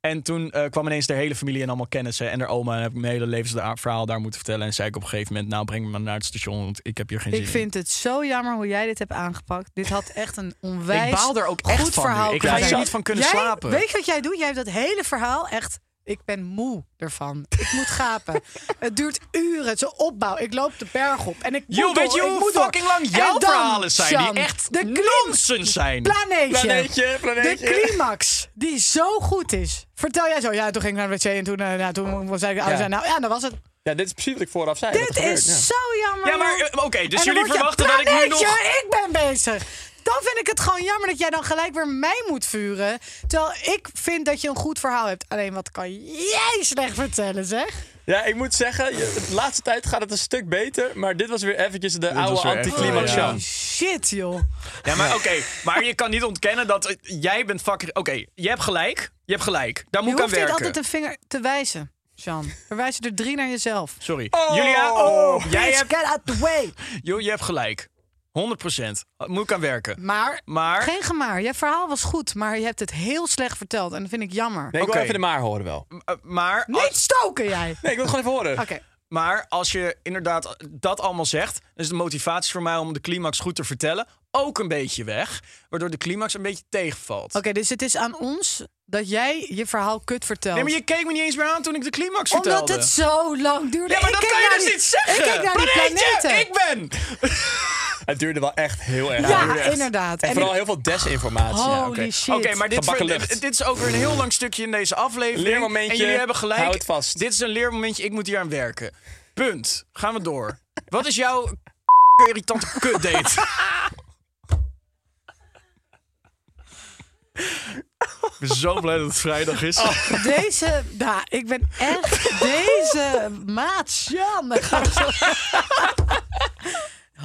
Speaker 4: En toen eh, kwam ineens de hele familie en allemaal kennissen en haar oma. En heb ik mijn hele levensverhaal daar moeten vertellen. En zei ik op een gegeven moment, nou breng me maar naar het station, want ik heb hier geen zin
Speaker 3: Ik vind het zo jammer hoe jij dit hebt aangepakt. Dit had echt een
Speaker 4: in.
Speaker 3: onwijs
Speaker 4: Ik baal er ook
Speaker 3: goed
Speaker 4: echt van nu.
Speaker 3: verhaal.
Speaker 4: Ik ga
Speaker 3: kunnen
Speaker 4: hier
Speaker 3: zijn.
Speaker 4: niet van kunnen
Speaker 3: Jij-
Speaker 4: slapen.
Speaker 3: Weet je wat jij doet? Jij hebt dat hele verhaal echt... Ik ben moe ervan. Ik moet gapen. het duurt uren. Het is een opbouw. Ik loop de berg op. En ik moet
Speaker 4: Yo, weet
Speaker 3: door,
Speaker 4: je
Speaker 3: ik
Speaker 4: hoe
Speaker 3: moet door.
Speaker 4: fucking lang
Speaker 3: En
Speaker 4: jouw
Speaker 3: dan,
Speaker 4: verhalen zijn?
Speaker 3: Sjan,
Speaker 4: die echt
Speaker 3: de klim-
Speaker 4: nonsens zijn.
Speaker 3: Planeetje.
Speaker 5: Planeetje, planeetje.
Speaker 3: De climax, die zo goed is. Vertel jij zo. Ja, toen ging ik naar de wc en toen, eh, nou, toen zei ik, oh,
Speaker 5: Ja.
Speaker 3: zei, nou ja, dat was het.
Speaker 5: Ja, dit is precies wat ik vooraf zei.
Speaker 3: Dit
Speaker 5: wat er gebeurt,
Speaker 3: is
Speaker 5: ja.
Speaker 3: zo jammer.
Speaker 4: Ja, maar
Speaker 3: joh.
Speaker 4: eh, oké, dus
Speaker 3: En dan
Speaker 4: jullie
Speaker 3: word je-
Speaker 4: verwachten dat ik nu nog...
Speaker 3: Planeetje, ik ben bezig. Dan vind ik het gewoon jammer dat jij dan gelijk weer mij moet vuren. Terwijl ik vind dat je een goed verhaal hebt. Alleen wat kan jij slecht vertellen,
Speaker 4: Oh,
Speaker 3: zeg?
Speaker 5: Ja, ik moet zeggen, je- de laatste tijd gaat het een stuk beter. Maar dit was weer eventjes de oude
Speaker 4: was weer echt-
Speaker 5: anticlimax.
Speaker 4: Oh, ja.
Speaker 5: Sjan.
Speaker 3: Shit, joh.
Speaker 4: Ja, maar oké. maar je kan niet ontkennen dat eh, jij bent fucking... Oké, je hebt gelijk. Je hebt gelijk. Daar
Speaker 3: Je
Speaker 4: moet ik aan
Speaker 3: hoeft niet
Speaker 4: werken.
Speaker 3: altijd een vinger te wijzen, Jan. Er wijzen er drie naar jezelf.
Speaker 4: Sorry. Julia, oh, jij
Speaker 3: Oh, Bitch,
Speaker 4: hebt...
Speaker 3: get out the way.
Speaker 4: Jo, je hebt gelijk. 100 procent. Ah, Moet ik aan werken.
Speaker 3: Maar,
Speaker 4: Maar-
Speaker 3: geen gemaar. Jij verhaal was goed, maar je hebt het heel slecht verteld. En dat vind ik jammer.
Speaker 5: Nee, ik
Speaker 4: Oké.
Speaker 5: wil even de maar horen wel.
Speaker 4: Eh, maar,
Speaker 3: Niet stoken, jij.
Speaker 5: Nee, ik wil het gewoon even horen.
Speaker 3: Oké.
Speaker 4: maar als je inderdaad eh, dat allemaal zegt... dan is de motivatie voor mij om de climax goed te vertellen... ook een beetje weg. Waardoor de climax een beetje tegenvalt.
Speaker 3: Oké, dus het is aan ons dat jij je verhaal kut vertelt.
Speaker 4: Nee, maar je keek me niet eens meer aan toen ik de climax vertelde.
Speaker 3: Omdat het zo lang duurde.
Speaker 4: Ja, maar
Speaker 3: Ik
Speaker 4: dat
Speaker 3: keek
Speaker 4: kan je
Speaker 3: naar
Speaker 4: dus
Speaker 3: die-
Speaker 4: niet zeggen.
Speaker 3: Ik keek naar die
Speaker 4: Planeetje,
Speaker 3: planeten.
Speaker 4: ik ben...
Speaker 5: Het duurde wel echt heel erg.
Speaker 3: Ja,
Speaker 5: lang.
Speaker 3: inderdaad.
Speaker 5: En
Speaker 3: En
Speaker 5: vooral
Speaker 3: ik-
Speaker 5: heel veel desinformatie.
Speaker 3: Holy
Speaker 5: ja, oké.
Speaker 3: shit.
Speaker 4: Oké, maar dit,
Speaker 5: Gebakken
Speaker 4: ver-
Speaker 5: lucht.
Speaker 4: dit, dit is ook weer een heel lang stukje in deze aflevering.
Speaker 5: Leermomentje.
Speaker 4: En jullie hebben gelijk.
Speaker 5: Hou het vast.
Speaker 4: Dit is een leermomentje. Ik moet hier aan werken. Punt. Gaan we door. Wat is jouw irritante kutdate? Ik ben zo blij dat het vrijdag is.
Speaker 3: Deze, nou, ik ben echt deze maat Sjan. Dan gaan we zo-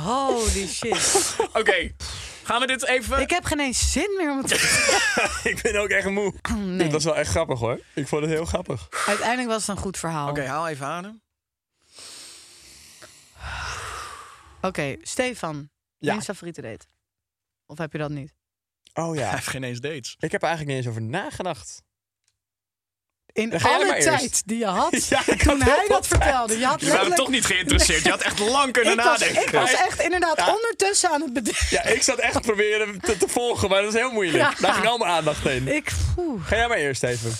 Speaker 3: Holy shit.
Speaker 4: Oké, gaan we dit even...
Speaker 3: Ik heb geen eens zin meer om het
Speaker 5: ik ben ook echt moe. Dit was wel echt grappig hoor. Ik vond het heel grappig.
Speaker 3: Uiteindelijk was het een goed verhaal.
Speaker 4: Oké,
Speaker 3: Oké,
Speaker 4: haal even adem.
Speaker 3: Stefan.
Speaker 5: Ja.
Speaker 3: Mijn favoriete date. Of heb je dat niet?
Speaker 5: Oh
Speaker 4: Hij
Speaker 5: ja.
Speaker 4: heeft geen eens dates.
Speaker 5: Ik heb er eigenlijk niet eens over nagedacht.
Speaker 3: In
Speaker 5: Dan ga jij
Speaker 3: alle
Speaker 5: maar eerst.
Speaker 3: tijd die je had,
Speaker 5: Ja, ik
Speaker 3: toen
Speaker 5: had heel
Speaker 3: hij
Speaker 5: veel
Speaker 3: dat vertelde. Je had
Speaker 4: Je waren
Speaker 3: letterlijk-
Speaker 4: toch niet geïnteresseerd. Je had echt lang kunnen
Speaker 3: ik was,
Speaker 4: nadenken.
Speaker 3: ik was echt inderdaad
Speaker 5: Ja.
Speaker 3: ondertussen aan het bedenken.
Speaker 5: Ja, ik zat echt te proberen te, te volgen, maar dat is heel moeilijk.
Speaker 3: Ja.
Speaker 5: Daar ging al mijn aandacht heen.
Speaker 3: Ik, poeh.
Speaker 5: Ga jij maar eerst even.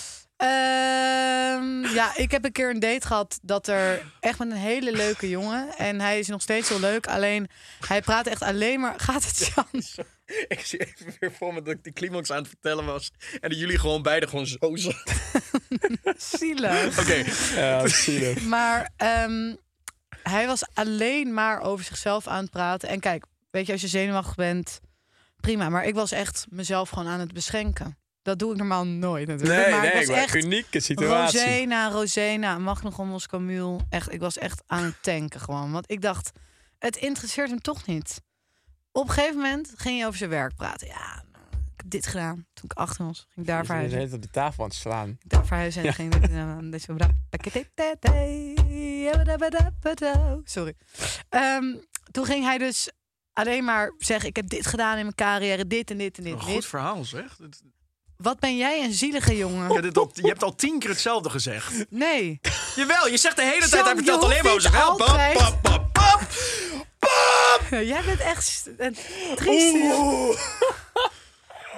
Speaker 3: Ehm, ja, ik heb een keer een date gehad dat er echt met een hele leuke jongen. En hij is nog steeds heel leuk. Alleen hij praat echt alleen maar. Gaat het Jan?
Speaker 4: Ik zie even weer voor me dat ik die climax aan het vertellen was. En dat jullie gewoon beide gewoon zo zaten.
Speaker 3: Zielig.
Speaker 4: Oké,
Speaker 5: Ja, zielig.
Speaker 3: Maar ehm, hij was alleen maar over zichzelf aan het praten. En kijk, weet je, als je zenuwachtig bent, prima. Maar ik was echt mezelf gewoon aan het beschenken. Dat doe ik normaal nooit natuurlijk.
Speaker 5: Nee,
Speaker 3: maar
Speaker 5: nee,
Speaker 3: ik was
Speaker 5: ik wou-
Speaker 3: echt
Speaker 5: unieke situatie.
Speaker 3: Rosena, Rosena, Magnum Moscamule. Echt, ik was echt aan het tanken gewoon. Want ik dacht, het interesseert hem toch niet. Op een gegeven moment ging hij over zijn werk praten. Ja, ik heb dit gedaan. Toen ik 18 was, ging ik daar
Speaker 5: Ze
Speaker 3: verhuizen.
Speaker 5: op de tafel aan het slaan.
Speaker 3: Ik daar verhuizen en ging dit en dan dit zo. Sorry. Ehm, toen ging hij dus alleen maar zeggen: ik heb dit gedaan in mijn carrière, dit en dit en dit.
Speaker 5: Oh,
Speaker 4: Een
Speaker 3: en
Speaker 4: goed
Speaker 3: dit.
Speaker 4: verhaal zeg. Het-
Speaker 3: Wat ben jij een zielige
Speaker 4: Je,
Speaker 3: jongen?
Speaker 5: Oh.
Speaker 4: hebt dit al, je hebt al tien keer hetzelfde gezegd.
Speaker 3: Nee.
Speaker 4: Jawel, je zegt de hele
Speaker 3: Sam,
Speaker 4: tijd, hij
Speaker 3: je
Speaker 4: vertelt
Speaker 3: hoeft
Speaker 4: alleen maar over
Speaker 3: niet
Speaker 4: zichzelf. Pap,
Speaker 3: altijd-
Speaker 4: pap, pap, pap.
Speaker 3: Jij bent echt st- een trieste
Speaker 5: Oh,
Speaker 3: jongen.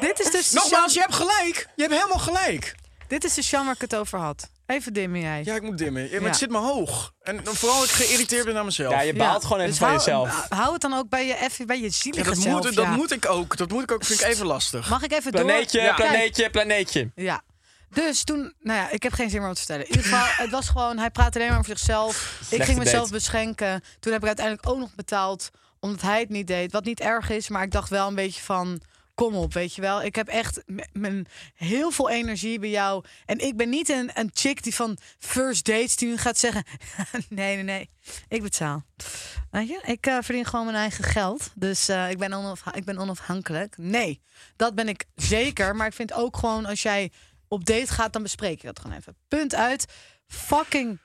Speaker 3: Dit is dus de
Speaker 4: Nogmaals,
Speaker 3: Sjan-
Speaker 4: je hebt gelijk. Je hebt helemaal gelijk.
Speaker 3: dit is de Sjan waar ik het over had. Even dimmen jij.
Speaker 4: Ja, ik moet dimmen. Ja, maar
Speaker 3: Ja.
Speaker 4: Het zit me hoog. En dan vooral ik geïrriteerd ben naar mezelf.
Speaker 5: Ja, je baalt
Speaker 3: Ja.
Speaker 5: gewoon even
Speaker 3: Dus
Speaker 5: van
Speaker 3: hou-
Speaker 4: ah,
Speaker 5: jezelf.
Speaker 3: Hou het dan ook bij je, effe- bij je
Speaker 4: Ja,
Speaker 3: zielige
Speaker 4: dat,
Speaker 3: zelf.
Speaker 4: moet,
Speaker 3: ja.
Speaker 4: dat moet ik ook. Dat moet ik ook, vind ik even lastig.
Speaker 3: Mag ik even
Speaker 5: Planeetje,
Speaker 3: door? Kijk,
Speaker 5: planeetje, planeetje.
Speaker 3: Ja. Dus toen, nou ja, ik heb geen zin meer om te vertellen. In ieder geval, het was gewoon, hij praatte alleen maar over zichzelf. Ik ging
Speaker 5: date.
Speaker 3: mezelf beschenken. Toen heb ik uiteindelijk ook nog betaald, omdat hij het niet deed. Wat niet erg is, maar ik dacht wel een beetje van, kom op, weet je wel. Ik heb echt m- mijn heel veel energie bij jou. En ik ben niet een, een chick die van first dates die nu gaat zeggen, nee, nee, nee, ik betaal. Weet je, ik eh, verdien gewoon mijn eigen geld. Dus eh, ik, ben onafha- ik ben onafhankelijk. Nee, dat ben ik zeker. Maar ik vind ook gewoon als jij op date gaat, dan bespreek je dat gewoon even. Punt uit. Fucking.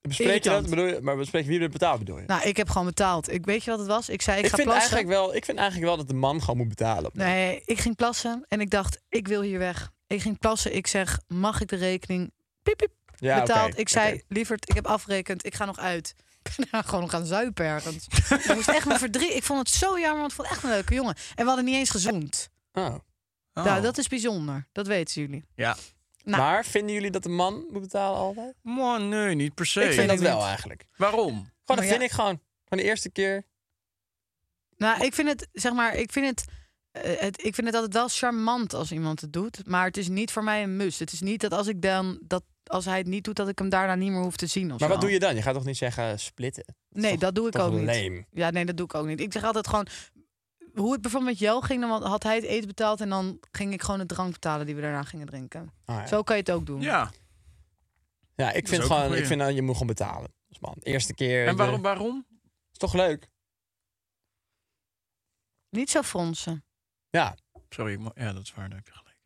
Speaker 5: Bespreek je dat?
Speaker 3: Irritant.
Speaker 5: Bedoel je, maar bespreek je wie er betaalt, bedoel je?
Speaker 3: Nou, ik heb gewoon betaald. Ik weet je wat het was? Ik zei, ik,
Speaker 5: ik,
Speaker 3: ga
Speaker 5: vind
Speaker 3: plassen.
Speaker 5: eigenlijk wel, ik vind eigenlijk wel dat de man gewoon moet betalen. op-
Speaker 3: Nee, ik ging plassen en ik dacht, ik wil hier weg. Ik ging plassen. Ik zeg, mag ik de rekening? Piep, piep.
Speaker 5: ja, oké,
Speaker 3: betaald. Ik zei,
Speaker 5: oké.
Speaker 3: lieverd, ik heb afgerekend. Ik ga nog uit. Ik ben daar gewoon nog gaan zuipen ergens. ik moest echt mijn verdriet. Ik vond het zo jammer, want ik vond het echt een leuke jongen. En we hadden niet eens gezoend.
Speaker 5: Oh.
Speaker 3: Nou, dat is bijzonder. Dat weten jullie.
Speaker 4: Ja.
Speaker 3: Nou.
Speaker 5: Maar vinden jullie dat de man moet betalen altijd?
Speaker 4: Maar nee, niet per se.
Speaker 5: Ik vind dat
Speaker 3: niet.
Speaker 5: wel eigenlijk.
Speaker 4: Waarom?
Speaker 5: Gewoon, dat
Speaker 3: ja.
Speaker 5: vind ik gewoon. Van de eerste keer.
Speaker 3: Nou, ik vind het, zeg maar, ik vind het, eh, het, ik vind het altijd wel charmant als iemand het doet. Maar het is niet voor mij een must. Het is niet dat als ik dan, dat als hij het niet doet, dat ik hem daarna niet meer hoef te zien. Of
Speaker 5: Maar
Speaker 3: zo.
Speaker 5: wat doe je dan? Je gaat toch niet zeggen splitten?
Speaker 3: Nee, dat doe ik
Speaker 5: toch
Speaker 3: ook niet.
Speaker 5: lame?
Speaker 3: Ja, nee, dat doe ik ook niet. Ik zeg altijd gewoon, hoe het bijvoorbeeld met jou ging, dan had hij het eten betaald en dan ging ik gewoon de drank betalen die we daarna gingen drinken.
Speaker 5: Ah, ja.
Speaker 3: Zo kan je het ook doen.
Speaker 4: Ja.
Speaker 5: ja, ik
Speaker 4: is
Speaker 5: vind
Speaker 4: ook een
Speaker 5: gewoon, ik
Speaker 4: goeie.
Speaker 5: vind, dan je moet gewoon betalen. Dus man, eerste keer.
Speaker 4: En
Speaker 5: de-
Speaker 4: waarom? waarom?
Speaker 5: Is toch leuk?
Speaker 3: Niet zo fronsen.
Speaker 5: Ja,
Speaker 4: Sorry, ik mo- ja, dat is waar. Daar heb je gelijk.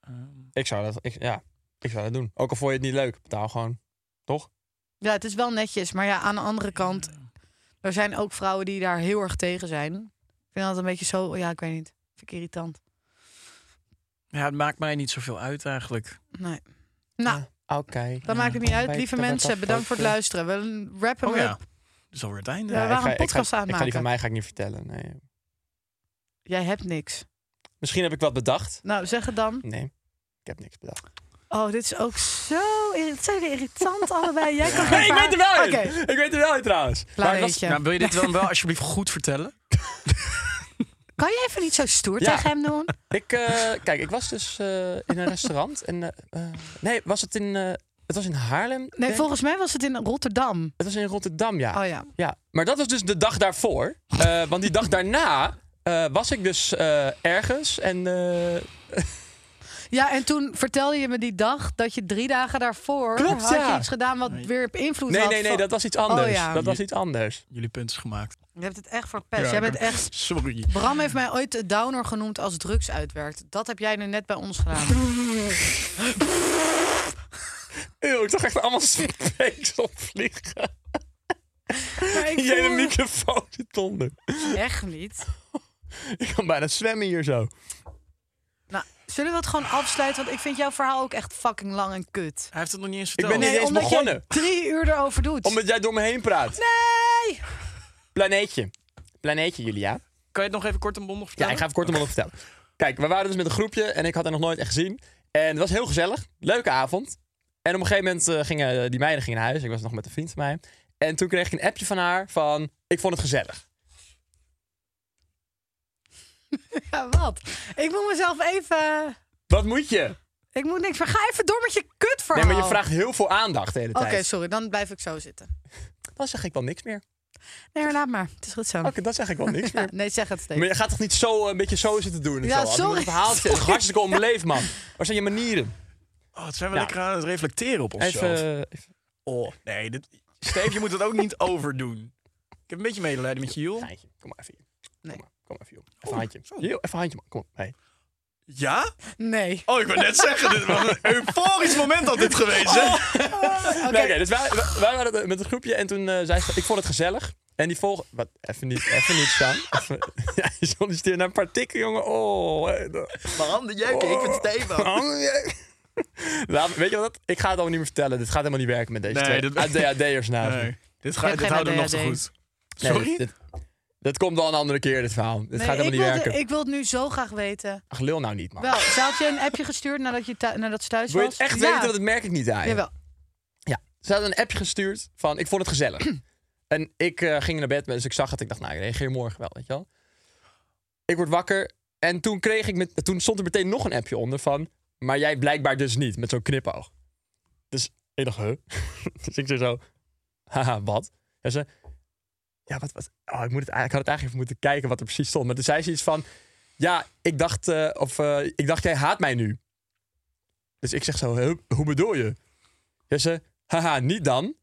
Speaker 4: Ehm,
Speaker 5: ik zou dat, ik, ja, ik zou dat doen. Ook al vond je het niet leuk, betaal gewoon. Toch?
Speaker 3: Ja, het is wel netjes. Maar ja, aan de andere kant, er zijn ook vrouwen die daar heel erg tegen zijn. Ik vind dat een beetje zo, ja, ik weet niet. Vind ik irritant.
Speaker 4: ja, het maakt mij niet zoveel uit eigenlijk.
Speaker 3: Nee. Nou,
Speaker 5: Oké.
Speaker 3: dat maakt het niet uit.
Speaker 5: Weet
Speaker 3: Lieve
Speaker 5: je wat
Speaker 3: mensen,
Speaker 5: dat
Speaker 3: bedankt voor het
Speaker 5: ook, eh,
Speaker 3: luisteren. We rappen
Speaker 4: Oh
Speaker 3: hem
Speaker 4: ja,
Speaker 3: up.
Speaker 4: dat is alweer het einde.
Speaker 3: Ja,
Speaker 5: ik
Speaker 3: we waren
Speaker 5: ga-
Speaker 3: een
Speaker 5: ik ga-
Speaker 3: podcast aan het
Speaker 5: Ik ga die van
Speaker 3: maken.
Speaker 5: mij ga ik niet vertellen. Nee.
Speaker 3: Jij hebt niks.
Speaker 5: Misschien heb ik wat bedacht.
Speaker 3: Nou, zeg het dan.
Speaker 5: Nee, ik heb niks bedacht.
Speaker 3: Oh, dit is ook zo... irri- Het zijn weer irritant allebei. Jij kan
Speaker 5: Nee,
Speaker 3: geen
Speaker 5: ik weet er wel
Speaker 3: verhaal-
Speaker 5: in.
Speaker 3: Oké,
Speaker 5: Ik weet er wel in trouwens.
Speaker 3: planeetje.
Speaker 4: Nou, wil je dit dan wel alsjeblieft goed vertellen?
Speaker 3: Kan je even niet zo stoer
Speaker 5: Ja.
Speaker 3: tegen hem doen?
Speaker 5: Ik, eh, kijk, ik was dus eh, in een restaurant. En, eh, eh, nee, was het in, eh, het was in Haarlem? denk
Speaker 3: Nee,
Speaker 5: ik.
Speaker 3: volgens mij was het in Rotterdam.
Speaker 5: Het was in Rotterdam, ja.
Speaker 3: Oh ja.
Speaker 5: ja. Maar dat was dus de dag daarvoor. Eh, want die dag daarna eh, was ik dus eh, ergens. En eh,
Speaker 3: Ja, en toen vertelde je me die dag dat je drie dagen daarvoor
Speaker 5: Klopt,
Speaker 3: had
Speaker 5: ja.
Speaker 3: je iets gedaan wat weer invloed
Speaker 5: nee,
Speaker 3: had.
Speaker 5: nee, nee,
Speaker 3: van-
Speaker 5: dat was iets anders.
Speaker 3: Oh, ja.
Speaker 5: Dat was iets anders.
Speaker 4: Jullie punt is gemaakt.
Speaker 3: Je hebt het echt verpest. jij
Speaker 4: ik
Speaker 3: bent
Speaker 4: heb-
Speaker 3: echt...
Speaker 4: Sorry.
Speaker 3: Bram heeft mij ooit de downer genoemd als drugs uitwerkt. Dat heb jij nu net bij ons gedaan.
Speaker 5: Eeuw, ik zag echt allemaal spikes opvliegen.
Speaker 3: Maar ik
Speaker 5: In de
Speaker 3: voel-
Speaker 5: microfoon zit onder.
Speaker 3: Echt niet.
Speaker 5: Ik kan bijna zwemmen hier zo.
Speaker 3: Nou, zullen we het gewoon afsluiten? Want ik vind jouw verhaal ook echt fucking lang en kut.
Speaker 4: Hij heeft het nog niet eens
Speaker 5: ben
Speaker 4: verteld.
Speaker 5: niet eens
Speaker 3: omdat
Speaker 5: begonnen.
Speaker 3: je drie uur erover doet.
Speaker 5: Omdat jij door me heen praat.
Speaker 3: Nee!
Speaker 5: Planeetje. Planeetje, Julia.
Speaker 4: Kan je het nog even kort en bondig
Speaker 5: Ja,
Speaker 4: vertellen?
Speaker 5: ik ga even kort om wat vertellen. Kijk, we waren dus met een groepje en ik had haar nog nooit echt gezien. En het was heel gezellig. Leuke avond. En op een gegeven moment eh, gingen die meiden gingen naar huis. Ik was nog met een vriend van mij. En toen kreeg ik een appje van haar van... Ik vond het gezellig.
Speaker 3: Ja, wat? Ik moet mezelf even...
Speaker 5: Wat moet je?
Speaker 3: Ik moet niks... Maar ga even door met je
Speaker 5: Nee,
Speaker 3: kutverhaal.
Speaker 5: maar je vraagt heel veel aandacht de hele
Speaker 3: Oh. Oké,
Speaker 5: tijd.
Speaker 3: sorry. Dan blijf ik zo zitten.
Speaker 5: Dan zeg ik wel niks meer.
Speaker 3: Nee, laat maar. Het is goed zo.
Speaker 5: Oké, dan zeg ik wel niks
Speaker 3: Ja,
Speaker 5: meer.
Speaker 3: nee, zeg het steeds.
Speaker 5: Maar je gaat toch niet zo eh, een beetje zo zitten doen? en
Speaker 3: Ja,
Speaker 5: zo? Als je met
Speaker 3: sorry,
Speaker 5: Het verhaal zit,
Speaker 3: sorry.
Speaker 5: hartstikke onbeleefd, man. Waar zijn je manieren?
Speaker 4: Oh, het zijn we
Speaker 5: Ja.
Speaker 4: lekker aan het reflecteren op onszelf.
Speaker 5: Even, eh, even...
Speaker 4: Oh, nee. Dit... Steve, je moet het ook niet overdoen. Ik heb een beetje medelijden met je, joh.
Speaker 5: Geintje, kom maar even hier.
Speaker 3: Nee.
Speaker 5: Kom maar, kom maar even, joh. Even handje. Joh, even handje, man. Kom op. Hey.
Speaker 4: Ja?
Speaker 3: Nee.
Speaker 4: Oh, ik wil net zeggen, dit was een euforisch moment had dit
Speaker 5: Oh.
Speaker 4: geweest, hè?
Speaker 5: Nee, oké, dus wij, wij, wij waren met een groepje en toen eh, zei ze, ik vond het gezellig. En die volgen... Wat? Even niet, even niet, Sjaan. Even... Ja, je solliciteert naar partikken, jongen. Oh. eh, dat-
Speaker 4: Mijn handen jeuken, ik vind het stevig.
Speaker 5: Oh, ja. Laat- Nou, weet je wat? Ik ga het allemaal niet meer vertellen. Dit gaat helemaal niet werken met deze
Speaker 4: Nee,
Speaker 5: twee. Ah,
Speaker 4: dit-
Speaker 5: ADHD'ers naast me.
Speaker 4: Nee, dit,
Speaker 3: Je
Speaker 4: ga,
Speaker 3: hebt
Speaker 4: dit
Speaker 3: geen
Speaker 4: houden we nog
Speaker 3: ADHD.
Speaker 4: zo goed.
Speaker 5: Nee,
Speaker 4: Sorry?
Speaker 5: dit, dit- dit komt wel een andere keer, dit verhaal. Dit gaat
Speaker 3: Nee,
Speaker 5: helemaal
Speaker 3: ik,
Speaker 5: niet
Speaker 3: wilde-
Speaker 5: werken.
Speaker 3: ik wil het nu zo graag weten.
Speaker 5: Ach, lul nou niet, man.
Speaker 3: Wel, zou ik je een appje gestuurd nadat, je thu- nadat ze thuis
Speaker 5: Wil je
Speaker 3: was?
Speaker 5: het echt
Speaker 3: ja.
Speaker 5: weten? Dat merk ik niet aan je.
Speaker 3: Jawel.
Speaker 5: Ze hadden een appje gestuurd van, ik vond het gezellig. en ik eh, ging naar bed, dus ik zag het. Ik dacht, nou, ik reageer morgen wel, weet je wel. Ik word wakker en toen, kreeg ik met, toen stond er meteen nog een appje onder van... Maar jij blijkbaar dus niet, met zo'n knipoog. Dus ik dacht, huh? dus ik zei zo, haha, wat? En ze, ja, wat, wat? Oh, ik, moet het, eigenlijk- ik had het eigenlijk even moeten kijken wat er precies stond. Maar toen zei ze iets van, ja, ik dacht, eh, of, eh, ik dacht jij haat mij nu. Dus ik zeg zo, huh, hoe bedoel je? Ja, ze, haha, niet dan.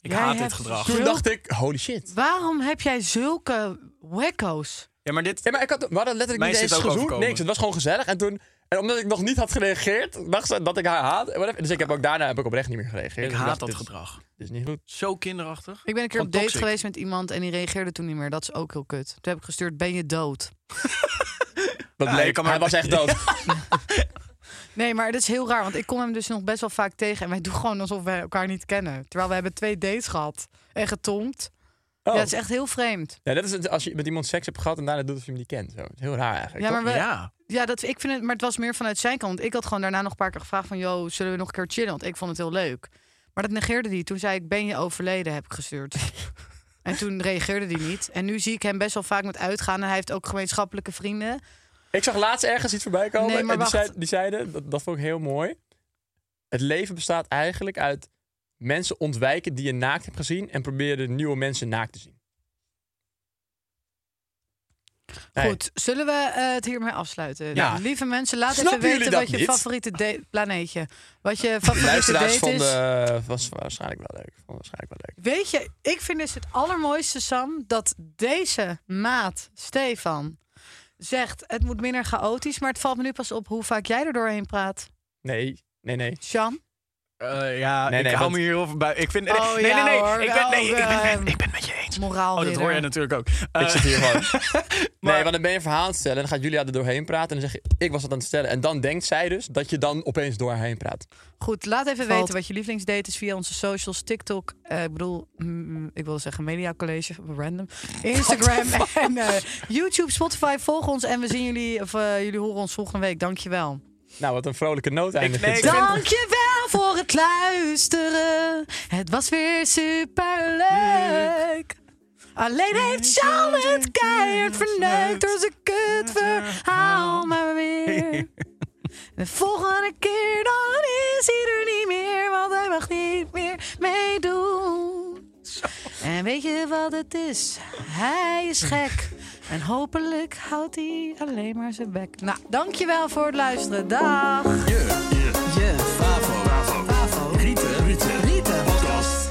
Speaker 4: Ik
Speaker 3: Jij
Speaker 4: haat dit
Speaker 3: hebt
Speaker 4: gedrag.
Speaker 3: zo-
Speaker 5: Toen
Speaker 3: Zulk-
Speaker 5: dacht ik, holy shit.
Speaker 3: Waarom heb jij zulke wekko's?
Speaker 4: Ja, maar dit...
Speaker 5: Ja, maar ik had, we hadden letterlijk
Speaker 4: Mij
Speaker 5: niet
Speaker 4: is
Speaker 5: eens
Speaker 4: dit ook
Speaker 5: gezoend.
Speaker 4: overkomen.
Speaker 5: Niks, het was gewoon gezellig. En toen, en omdat ik nog niet had gereageerd, dacht ze dat ik haar haat. En whatever. Dus ik heb ook daarna heb ik oprecht niet meer gereageerd.
Speaker 4: Ik
Speaker 5: Dus
Speaker 4: haat
Speaker 5: dacht,
Speaker 4: dat
Speaker 5: dit is-
Speaker 4: gedrag.
Speaker 5: Dit is niet goed.
Speaker 4: Zo kinderachtig.
Speaker 3: Ik ben een keer
Speaker 4: Van
Speaker 3: op date
Speaker 4: toxic.
Speaker 3: geweest met iemand en die reageerde toen niet meer. Dat is ook heel kut. Toen heb ik gestuurd, ben je dood?
Speaker 5: Dat
Speaker 4: Ja, je
Speaker 5: bleek,
Speaker 4: kan maar-
Speaker 5: hij was echt dood.
Speaker 3: Nee, maar dat is heel raar, want ik kom hem dus nog best wel vaak tegen. En wij doen gewoon alsof we elkaar niet kennen. Terwijl we hebben twee dates gehad en getomd.
Speaker 5: Oh.
Speaker 3: Ja, dat is echt heel vreemd.
Speaker 5: Ja, dat is het, als je met iemand seks hebt gehad en daarna doet of je hem niet kent. Zo. Het is heel raar eigenlijk.
Speaker 3: Ja, maar, we, ja.
Speaker 4: Ja.
Speaker 3: dat, ik vind het, maar het was meer vanuit zijn kant. Want ik had gewoon daarna nog een paar keer gevraagd van... yo, zullen we nog een keer chillen? Want ik vond het heel leuk. Maar dat negeerde hij. Toen zei ik, ben je overleden? Heb ik gestuurd. en toen reageerde hij niet. En nu zie ik hem best wel vaak met uitgaan. En hij heeft ook gemeenschappelijke vrienden.
Speaker 5: Ik zag laatst ergens iets voorbij komen.
Speaker 3: Nee, maar
Speaker 5: en die,
Speaker 3: wacht.
Speaker 5: zei- die zeiden, dat, dat vond ik heel mooi. Het leven bestaat eigenlijk uit mensen ontwijken die je naakt hebt gezien. En proberen nieuwe mensen naakt te zien. Nee.
Speaker 3: Goed, zullen we eh, het hiermee afsluiten?
Speaker 5: Ja.
Speaker 3: Nou, lieve mensen, laat
Speaker 5: Snappen
Speaker 3: even weten
Speaker 5: jullie dat
Speaker 3: wat je
Speaker 5: niet?
Speaker 3: favoriete date... Planeetje. Wat je favoriete
Speaker 5: Luisteraars
Speaker 3: date
Speaker 5: van
Speaker 3: is.
Speaker 5: de, was waarschijnlijk wel leuk. Vond waarschijnlijk wel leuk.
Speaker 3: Weet je, ik vind dus het allermooiste, Sam, dat deze maat, Stefan, zegt... het moet minder chaotisch, maar het valt me nu pas op hoe vaak jij er doorheen praat.
Speaker 5: Nee, nee, nee.
Speaker 3: Sjan?
Speaker 4: Eh, ja,
Speaker 5: Nee,
Speaker 4: ik
Speaker 5: nee,
Speaker 4: hou
Speaker 5: want-
Speaker 4: me hierover bij. Ik vind...
Speaker 3: Oh,
Speaker 4: nee,
Speaker 3: ja,
Speaker 4: nee, nee.
Speaker 3: hoor.
Speaker 4: Ik ben, nee,
Speaker 3: Oh,
Speaker 4: ik ben,
Speaker 3: ehm,
Speaker 4: ik ben met je eens.
Speaker 3: Moraal
Speaker 4: Oh, dat hoor jij natuurlijk ook. Eh,
Speaker 5: Ik zit hier gewoon. Nee,
Speaker 4: maar-
Speaker 5: want dan ben je een verhaal aan het stellen. En dan gaat Julia er doorheen praten. En dan zeg je, ik was dat aan het stellen. En dan denkt zij dus dat je dan opeens doorheen praat.
Speaker 3: Goed, laat even
Speaker 5: Valt.
Speaker 3: weten wat je lievelingsdate is via onze socials. TikTok, eh, ik bedoel, mm, ik wil zeggen Media College, random. Instagram en eh, YouTube, Spotify. Volg ons en we zien jullie, of eh, jullie horen ons volgende week. Dankjewel.
Speaker 5: Nou, wat een vrolijke noot eigenlijk.
Speaker 4: nee, ik vind-
Speaker 3: Dankjewel voor het luisteren. Het was weer superleuk. Alleen heeft Charles het keihard verneukt door zijn kut verhaal maar weer. De volgende keer dan is hij er niet meer, want hij mag niet meer meedoen. En weet je wat het is? Hij is gek. En hopelijk houdt hij alleen maar zijn bek. Nou, dankjewel voor het luisteren. Dag.
Speaker 9: Je Favo. Favo. Rieten. Rieten. Rieten. Podcast.